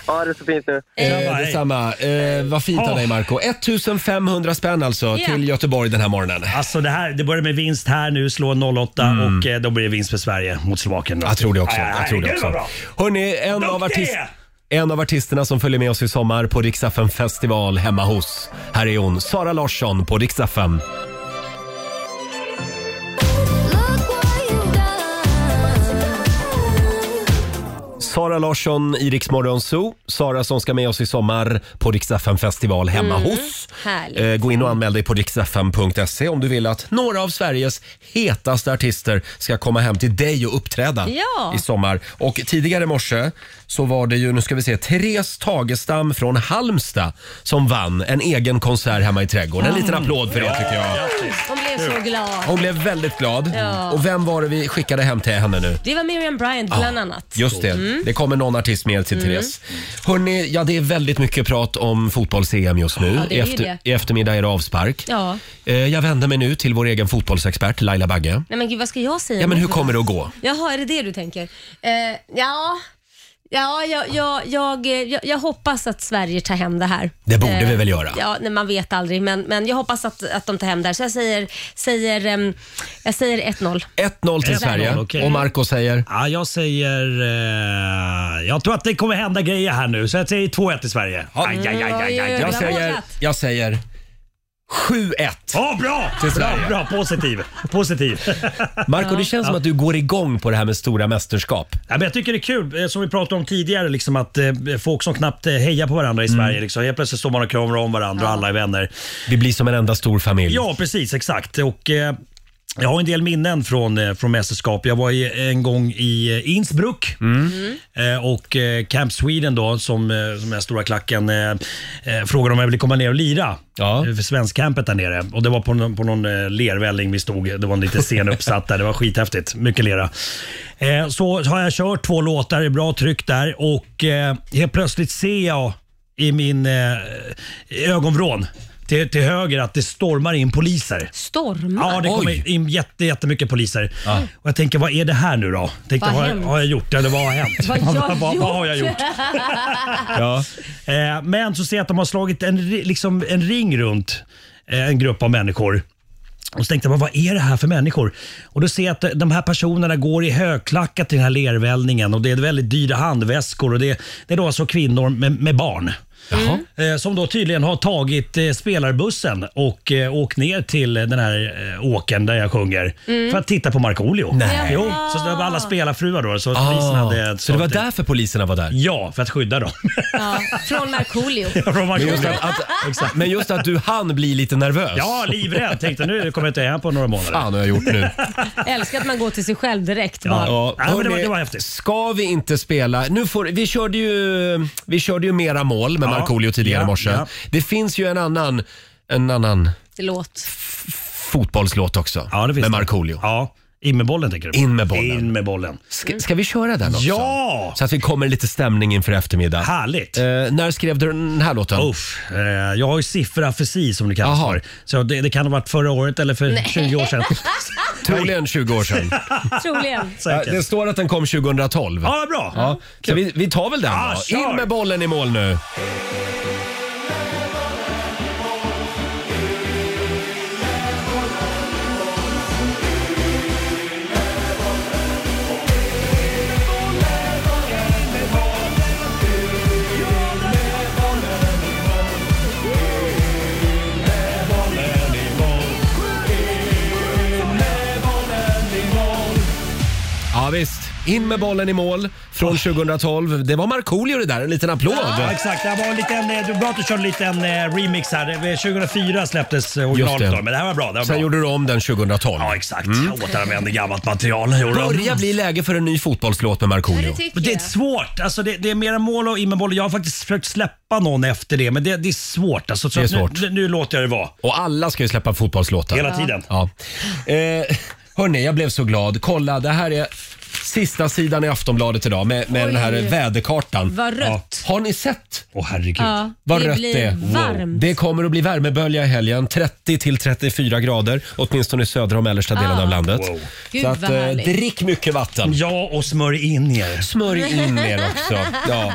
Ja, det är så fint nu. Eh, detsamma. Eh, vad fint av dig Marco 1500 spänn alltså Ja. till Göteborg den här morgonen. Mm. Alltså det här, det börjar med vinst här nu, slå 08 och eh, då blir det vinst för Sverige mot Slovakien. då. Jag tror det också. Aj, aj, Jag tror det gud, vad också. bra. Hörrni, en av, artist, en av artisterna som följer med oss i sommar på Riksaffen festival hemma hos. Här är hon, Sara Larsson på Riksaffen. Sara Larsson i Rix Morgon Zoo. Sara som ska med oss i sommar på Riksaffen festival hemma Mm, hos. härligt. Eh, Gå in och anmäl dig på riksfm.se om du vill att några av Sveriges hetaste artister ska komma hem till dig och uppträda Ja. i sommar. Och tidigare i morse så var det ju, nu ska vi se, Therese Tagestam från Halmstad som vann en egen konsert hemma i trädgården. En Ah. liten applåd för det tycker jag. Hon blev så glad. Hon blev väldigt glad. Ja. Och vem var det vi skickade hem till henne nu? Det var Miriam Bryant bland Ja, annat. Just det. Mm. Det kommer någon artist mer till Mm. Therese. Hörrni, ja det är väldigt mycket prat om fotbolls-EM just nu. Ja, det I, är ju efter, det. I eftermiddag är det avspark. Ja. Eh, Jag vänder mig nu till vår egen fotbollsexpert Laila Bagge. Nej men gud, vad ska jag säga? Ja, men emot hur det? kommer det att gå? Jaha, är det det du tänker? Eh, ja, ja jag, jag, jag, jag, jag hoppas att Sverige tar hem det här. Eh, Det borde vi väl göra. Ja, nej, man vet aldrig, men, men jag hoppas att, att de tar hem det här. Så jag säger, säger, ehm, jag säger 1-0. 1-0 till Sverige. Och Marco säger? Eh, Ja, jag säger... Eh, jag tror att det kommer hända grejer här nu, så jag säger 2-1 till Sverige. Aj, aj, aj, aj, aj, aj. Jag säger, jag säger 7-1. Ja, bra! Till bra, Sverige. bra, positiv. positiv. Marco, det känns som att du går igång på det här med stora mästerskap. Ja, men jag tycker det är kul, eh, som vi pratade om tidigare, liksom att eh, folk som knappt eh, hejar på varandra i Mm. Sverige. Liksom, helt plötsligt står man och kramar om varandra och alla är vänner. Vi blir som en enda stor familj. Ja, precis. Exakt. Och, eh, jag har en del minnen från, eh, från mästerskap. Jag var i, en gång i eh, Innsbruck eh, och eh, Camp Sweden, då, som, eh, som är stora klacken, eh, eh, frågade om jag ville komma ner och lira. Ja. För svenskcampet där nere. Och det var på någon, på någon eh, lervälling vi stod. Det var en liten scen uppsatt där. Det var skithäftigt. Mycket lera. Eh, så har jag kört två låtar i bra tryck där och eh, helt plötsligt ser jag i min eh, ögonvrån till, till höger att det stormar in poliser. Stormar? Ja, det kommer in jätte, jättemycket poliser. Och jag tänker, vad är det här nu då? Tänkte, Vad vad har har, hänt? har jag gjort? Eller vad har hänt? Vad har jag vad, vad har jag gjort? Eh, Ja. Eh, men så ser jag att de har slagit en, ri- liksom, en ring runt eh, en grupp av människor. Och så tänkte jag, vad är det här för människor? Och då ser jag att eh, de här personerna går i högklackat till den här lervällningen och det är väldigt dyra handväskor och det, det är då alltså kvinnor med, med barn. Eh, Som då tydligen har tagit eh, spelarbussen och eh, åkt ner till den här eh, åken där jag sjunger Mm. för att titta på Markoolio. Nej. Jo, så det var alla spelarfruar då. Så, Ah, polisen hade så det var därför poliserna var där? Ja, för att skydda dem. Ja, från Markoolio. Men just att, att, men just att du hann bli lite nervös. Ja, livrädd. Tänkte nu kommer jag inte hem på några månader. Fan, har jag gjort nu? Älskar att man går till sig själv direkt. Ja, bara. ja. Hörrni, Ska vi inte spela... Nu får, vi, körde ju, vi körde ju mera mål med Ja, Markoolio tidigare i ja, morse. ja. Det finns ju en annan, en annan Det låt. fotbollslåt också med Markoolio. Ja, in med bollen tänker du In med bollen. In med bollen. Ska, ska vi köra den också? Ja! Så att vi kommer lite stämning inför eftermiddag. Eh, Härligt. när skrev du den här låten? Uff, eh, jag har ju sifferafasi som det kallas för. Så det, det kan ha varit förra året eller för 20 år sedan. Troligen 20 år sedan. Troligen. Ja, det står att den kom 2012. Ja, bra. Mm, Så vi, vi tar väl den Ja, då. kör. In med bollen i mål nu. Ja visst. In med bollen i mål från 2012. Det var Markoolio det där. En liten applåd. Ja, exakt. Det här var en liten, eh, det var bra att du körde en liten eh, remix här. Det var 2004 släpptes eh, Just originalet det. då, men det här var bra. Det var Sen bra. gjorde du om den 2012. Ja, exakt. Jag återanvände gammalt material. gjorde de. Börjar bli läge för en ny fotbollslåt med Markoolio. Men det är svårt. Alltså det, det är mera mål och in med bollen. Jag har faktiskt försökt släppa någon efter det, men det, det är svårt. Alltså, så Det är att nu- svårt. Nu, nu låter jag det vara. Och alla ska ju släppa fotbollslåtar. Hela tiden. Ja. Eh, hörni, jag blev så glad. Kolla, det här är sista sidan i Aftonbladet idag med, med den här Oj. väderkartan. Vad rött. Ja. Har ni sett? Åh oh, herregud. Ja, Vad det rött blir det är. varmt. Det kommer att bli värmebölja i helgen. 30 till 34 grader, åtminstone i södra och mellersta delen Ah. av landet. Wow. Gud, Så att, vad eh, härligt. drick mycket vatten. Ja, och smörj in er. Smörj in er också. Ja.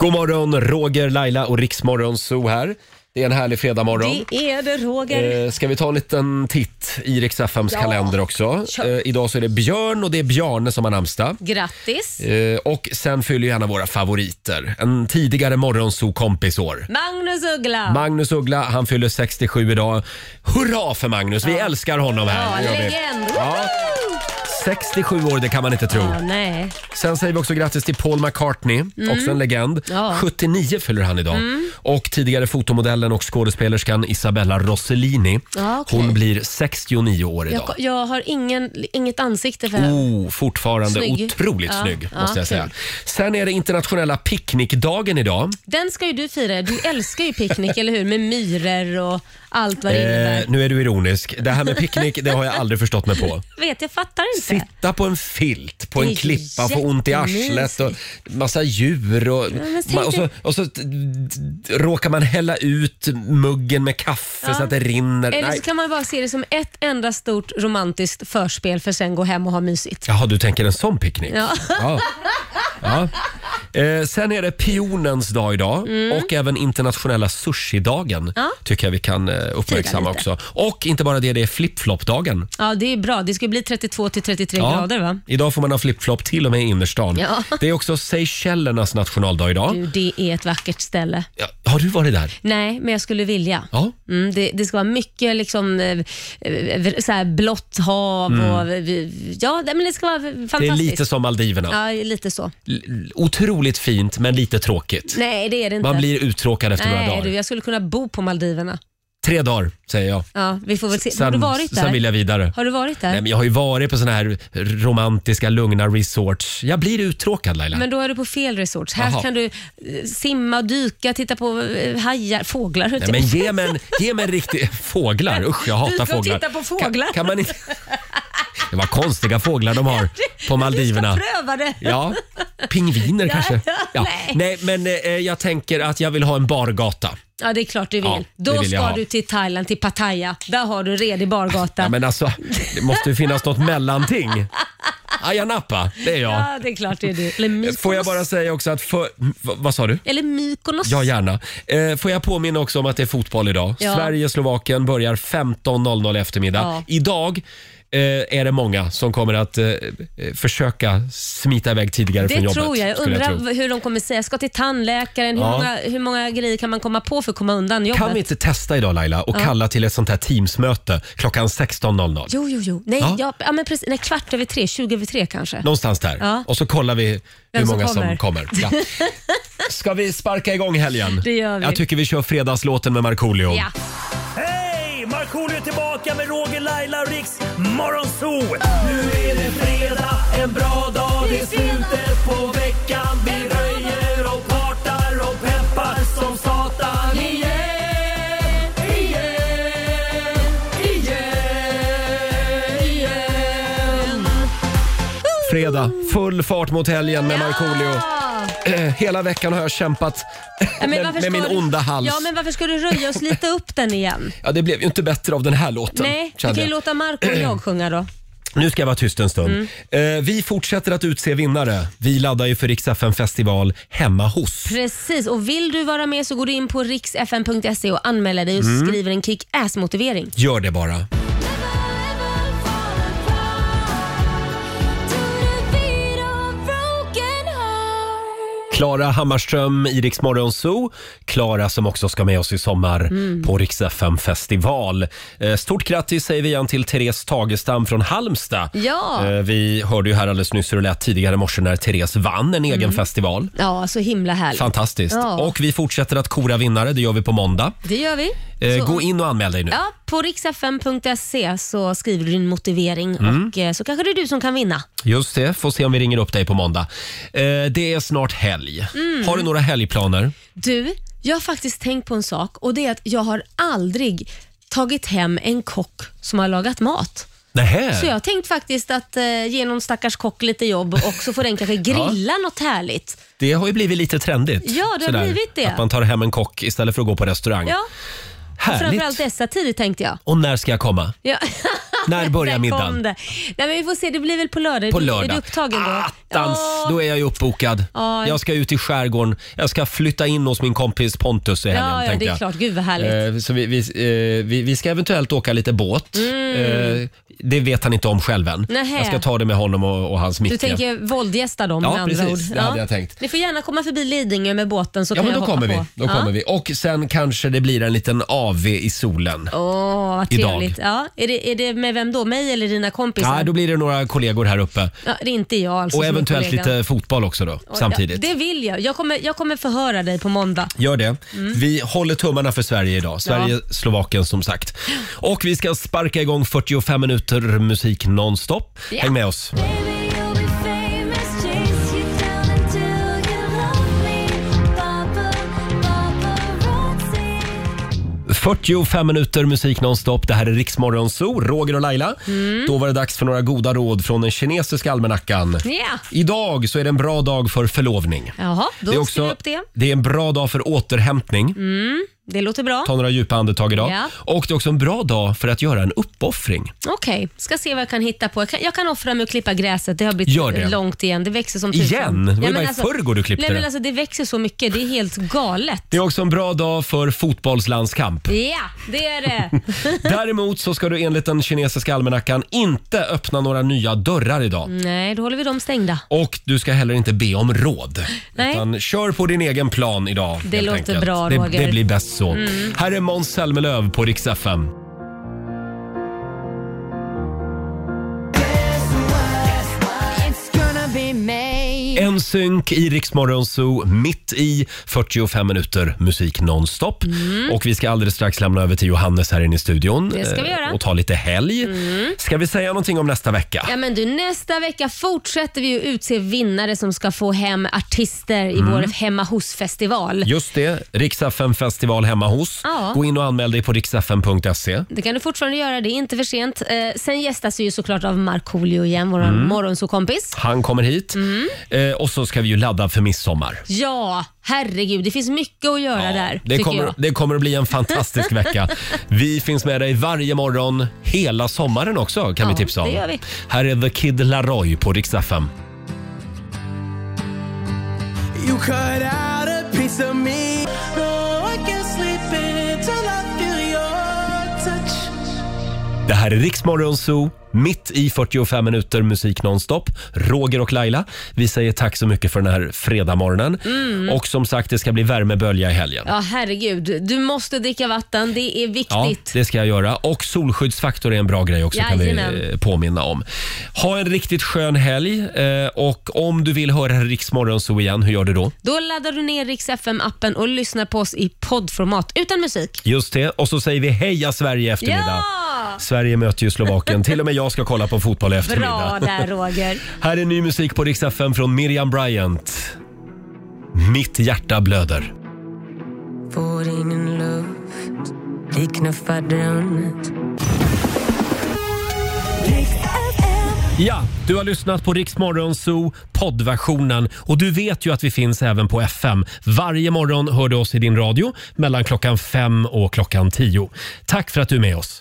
God morgon, Roger, Laila och Riksmorgon Zoo här. Det är en härlig fredagmorgon. Det är det Roger. Eh, ska vi ta en liten titt i Rix FMs Ja. kalender också? Kör. Eh, idag så är det Björn och det är Bjarne som har namnsdag. Grattis. Eh, och sen fyller ju en av våra favoriter, en tidigare Morgonzoo-kompis år. Magnus Uggla. Magnus Uggla, han fyller 67 idag. Hurra för Magnus! Vi älskar honom här. ja, Det gör vi. legend. Ja. 67 år, det kan man inte tro. Ja, nej. Sen säger vi också grattis till Paul McCartney, Mm. också en legend. Ja. 79 fyller han idag. Mm. Och tidigare fotomodellen och skådespelerskan Isabella Rossellini. Ja, okej. Hon blir 69 år idag. Jag, jag har ingen, inget ansikte för henne. Oh, fortfarande Snygg. otroligt Ja, snygg ja, måste jag kul. säga. Sen är det internationella picknickdagen idag. Den ska ju du fira. Du älskar ju picknick, eller hur? Med myror och allt vad det innebär. Eh, nu är du ironisk. Det här med picknick, det har jag aldrig förstått mig på. Vet, jag fattar inte. Sitta på en filt, på Det är en ju klippa, få ont i arslet och massa djur och, men tänk ma- och, så, dig- och så t- t- råkar man hälla ut muggen med kaffe Ja. så att det rinner. Eller Nej. så kan man bara se det som ett enda stort romantiskt förspel för sen gå hem och ha mysigt. Jaha, du tänker en sån picknick? Ja. Ja. Ja. Eh, sen är det pionens dag idag Mm. och även internationella sushidagen Ja. tycker jag vi kan eh, uppmärksamma lite. också. Och inte bara det, det är flipflopdagen. Ja, det är bra. Det ska bli 32 till 33 Ja. grader va? Idag får man ha flipflop till och med i innerstan. Ja. Det är också Seychellernas nationaldag idag. Du, det är ett vackert ställe. Ja, har du varit där? Nej, men jag skulle vilja. Ja. Mm, det, det ska vara mycket liksom, eh, eh, så här blått hav Mm. och eh, vi- ja, nej, men det ska vara fantastiskt. Det är lite som Maldiverna. Ja, lite så. L- Otroligt fint men lite tråkigt. Nej, det är det inte. Man blir uttråkad efter nej, några dagar. Du, jag skulle kunna bo på Maldiverna. Tre dagar säger jag. Ja, vi får väl se. Sen, har du varit där? sen vill jag vidare. Har du varit där? Nej, men jag har ju varit på såna här romantiska, lugna resorts. Jag blir uttråkad Laila. Men då är du på fel resort. Här Jaha. kan du eh, simma, dyka, titta på eh, hajar, fåglar. höll Nej, jag men på att ge säga. mig, en, ge mig en riktig... Fåglar, usch jag hatar Dyka och fåglar. titta på fåglar. Kan, kan man inte... Det var konstiga fåglar de har på Maldiverna. Pröva det. Ja, pingviner kanske. Ja. nej. Nej, men eh, jag tänker att jag vill ha en bargata. Ja, det är klart du vill. Ja, det Då vill jag ska ha. du till Thailand, till Pattaya. Där har du redig bargata. alltså, Ja, men alltså, det måste ju finnas något mellanting. Ayia Napa, det är jag. Ja, det är klart det är du. Eller Mykonos. Får jag bara säga också att... För, v- vad sa du? Eller Mykonos. Ja, gärna. Eh, får jag påminna också om att det är fotboll idag. Ja. Sverige-Slovakien börjar 15.00 i eftermiddag. Ja. Idag eh, är det många som kommer att eh, eh, försöka smita iväg tidigare Det från jobbet. tror jag. Jag skulle undrar tro. hur de kommer säga. Jag ska till tandläkaren. Hur, Ja. många, hur många grejer kan man komma på för att komma undan jobbet? Kan vi inte testa idag Laila och Ja. kalla till ett sånt här Teamsmöte klockan 16.00? Jo, jo, jo. Nej, Ja. ja. ja, men precis, nej, kvart över tre, tjugo över tre kanske. Någonstans där. Ja. Och så kollar vi hur Vem som många kommer. som kommer. Ja. Ska vi sparka igång helgen? Det gör vi. Jag tycker vi kör fredagslåten med Markoolio. Hej! Markoolio är tillbaka med Roger, Laila och Riks Morgonzoo! Nu är det fredag, en bra dag, det är slutet på veckan. Vi röjer och partar och peppar som satan. Igen, igen, igen, igen. Fredag, full fart mot helgen med Markoolio. Eh, Hela veckan har jag kämpat Ja, men med, varför med ska min du- onda hals. Ja, men varför ska du röja och slita upp den igen? Ja, det blev ju inte bättre av den här låten. Nej, du kände kan ju jag. låta Marco och jag sjunga då. Nu ska jag vara tyst en Mm. stund. Eh, vi fortsätter att utse vinnare. Vi laddar ju för Rix FM festival hemma hos. Precis, och vill du vara med så går du in på riksfn.se och anmäler dig och Mm. skriver en kick-ass motivering. Gör det bara. Klara Hammarström i Rix Morgon Zoo. Klara som också ska med oss i sommar Mm. på Rix FM festival. Eh, Stort grattis säger vi igen till Therese Tagestam från Halmstad. Ja. Eh, Vi hörde ju här alldeles nyss hur det lät tidigare i morse när Therese vann en egen festival. Mm. Ja, så himla härligt. Fantastiskt. Ja. Och vi fortsätter att kora vinnare, det gör vi på måndag. Det gör vi. Eh, Så- Gå in och anmäl dig nu. Ja, på riksfn.se så skriver du din motivering Mm. och eh, så kanske det är du som kan vinna. Just det, får se om vi ringer upp dig på måndag. Eh, Det är snart helg. Mm. Har du några helgplaner? Du, jag har faktiskt tänkt på en sak och det är att jag har aldrig tagit hem en kock som har lagat mat. Nähä? Så jag har tänkt faktiskt att eh, ge någon stackars kock lite jobb och så får den kanske grilla något härligt. Det har ju blivit lite trendigt. Ja, det har blivit det. Att man tar hem en kock istället för att gå på restaurang. Ja, och Härligt. framförallt dessa tider tänkte jag. Och när ska jag komma? Ja. När börjar Där kom middagen? det. Nej, men vi får se, det blir väl på lördag. På Är du- Är lördag. Ah, du upptagen då? Dans, då är jag ju uppbokad. Ja. Jag ska ut i skärgården. Jag ska flytta in hos min kompis Pontus i helgen. Ja, ja, tänkte det är jag. klart. Gud vad härligt. Eh, Så vi, vi, eh, vi, vi ska eventuellt åka lite båt. Mm. Eh, Det vet han inte om själv än. Nähä. Jag ska ta det med honom och, och hans Micke. Du tänker våldgästa dem Ja, med andra precis. ord. Det hade jag tänkt. Ni får gärna komma förbi Lidingö med båten så Ja, kan men jag då hoppa kommer, vi. på. då kommer vi. Och sen kanske det blir en liten AV i solen. Åh, vad Idag. trevligt. Ja, är, det, är det med vem då? Mig eller dina kompisar? Nej, då blir det några kollegor här uppe. ja, det är inte jag alltså. och som är eventuellt kollegan. lite fotboll också då, Oj, samtidigt. Ja, det vill jag. Jag kommer, jag kommer förhöra dig på måndag. Gör det. Mm. Vi håller tummarna för Sverige idag. Sverige-Slovakien som sagt. Och vi ska sparka igång 45 minuter musik nonstop. Ja. Häng med oss. Baba, 45 minuter musik nonstop. Det här är Riksmorgon Zoo, Roger och Laila. Mm. Då var det dags för några goda råd från den kinesiska almanackan. Ja. Idag så är det en bra dag för förlovning. Jaha, det är då skriver också jag upp det. det är en bra dag för återhämtning. Mm, det låter bra. Ta några djupa andetag idag. Ja. Och det är också en bra dag för att göra en uppoffring. Okej, ska se vad jag kan hitta på. Jag kan, jag kan offra mig och klippa gräset. Det har Gör blivit det. långt igen. Det växer som Igen? Det var ju men bara i förrgår du klippte nej, men det. Alltså, det växer så mycket. Det är helt galet. Det är också en bra dag för fotbollslandskamp. Ja, det är det. Däremot så ska du enligt den kinesiska almanackan inte öppna några nya dörrar idag. Nej, då håller vi dem stängda. Och du ska heller inte be om råd. Nej. Utan kör på din egen plan idag. Det helt låter enkelt. bra, det, Roger. det blir bäst så. Mm. Här är Måns Zelmerlöw på Rix FM. En synk i Rix Morgon Zoo, mitt i 45 minuter musik nonstop. Och vi ska alldeles strax lämna över till Johannes här inne i studion. Mm. Det ska vi eh, göra. Och ta lite helg. Mm. Ska vi säga någonting om nästa vecka? Ja, men du, nästa vecka fortsätter vi ju utse vinnare som ska få hem artister i Mm. vår Hemma hos-festival. Just det, Rix FM festival hemma hos. Ja. Gå in och anmäl dig på riksfm.se. Det kan du fortfarande göra, det är inte för sent. Eh, sen gästas vi ju såklart av Markoolio igen, vår Mm. morgonsåkompis. Han kommer hit. Eh, och Och så ska vi ju ladda för midsommar. Mm. Ja, herregud. Det finns mycket att göra där, Det tycker kommer, jag. det kommer att bli en fantastisk vecka. Vi finns med dig varje morgon hela sommaren också kan Ja, vi tipsa om. det gör vi. Här är The Kid Laroi på Rix FM. You cut out a piece of me. No, I can't sleep until I feel your touch. Det här är Riksmorgon Zoo, mitt i 45 minuter musik nonstop. Roger och Laila, vi säger tack så mycket för den här fredagmorgonen. Mm. Och som sagt, det ska bli värmebölja i helgen. Ja, herregud. Du måste dricka vatten. Det är Ja, viktigt. det ska jag göra. Och solskyddsfaktor är en bra grej också kan vi Jajamän. eh, påminna om. Ha en riktigt skön helg eh, och om du vill höra Riksmorgon så igen, hur gör du då? Då laddar du ner Rix FM-appen och lyssnar på oss i poddformat utan musik. Just det, och så säger vi heja Sverige i eftermiddag. Ja! Sverige möter ju Slovakien. Till och med jag ska kolla på fotboll i eftermiddag. Bra där Roger. Här är ny musik på Rix FM från Miriam Bryant. Mitt hjärta blöder. Får ingen luft, vi knuffar drömmet. Ja, du har lyssnat på Rix Morgon Zoo poddversionen och du vet ju att vi finns även på FM. Varje morgon hör du oss i din radio mellan klockan fem och klockan tio. Tack för att du är med oss.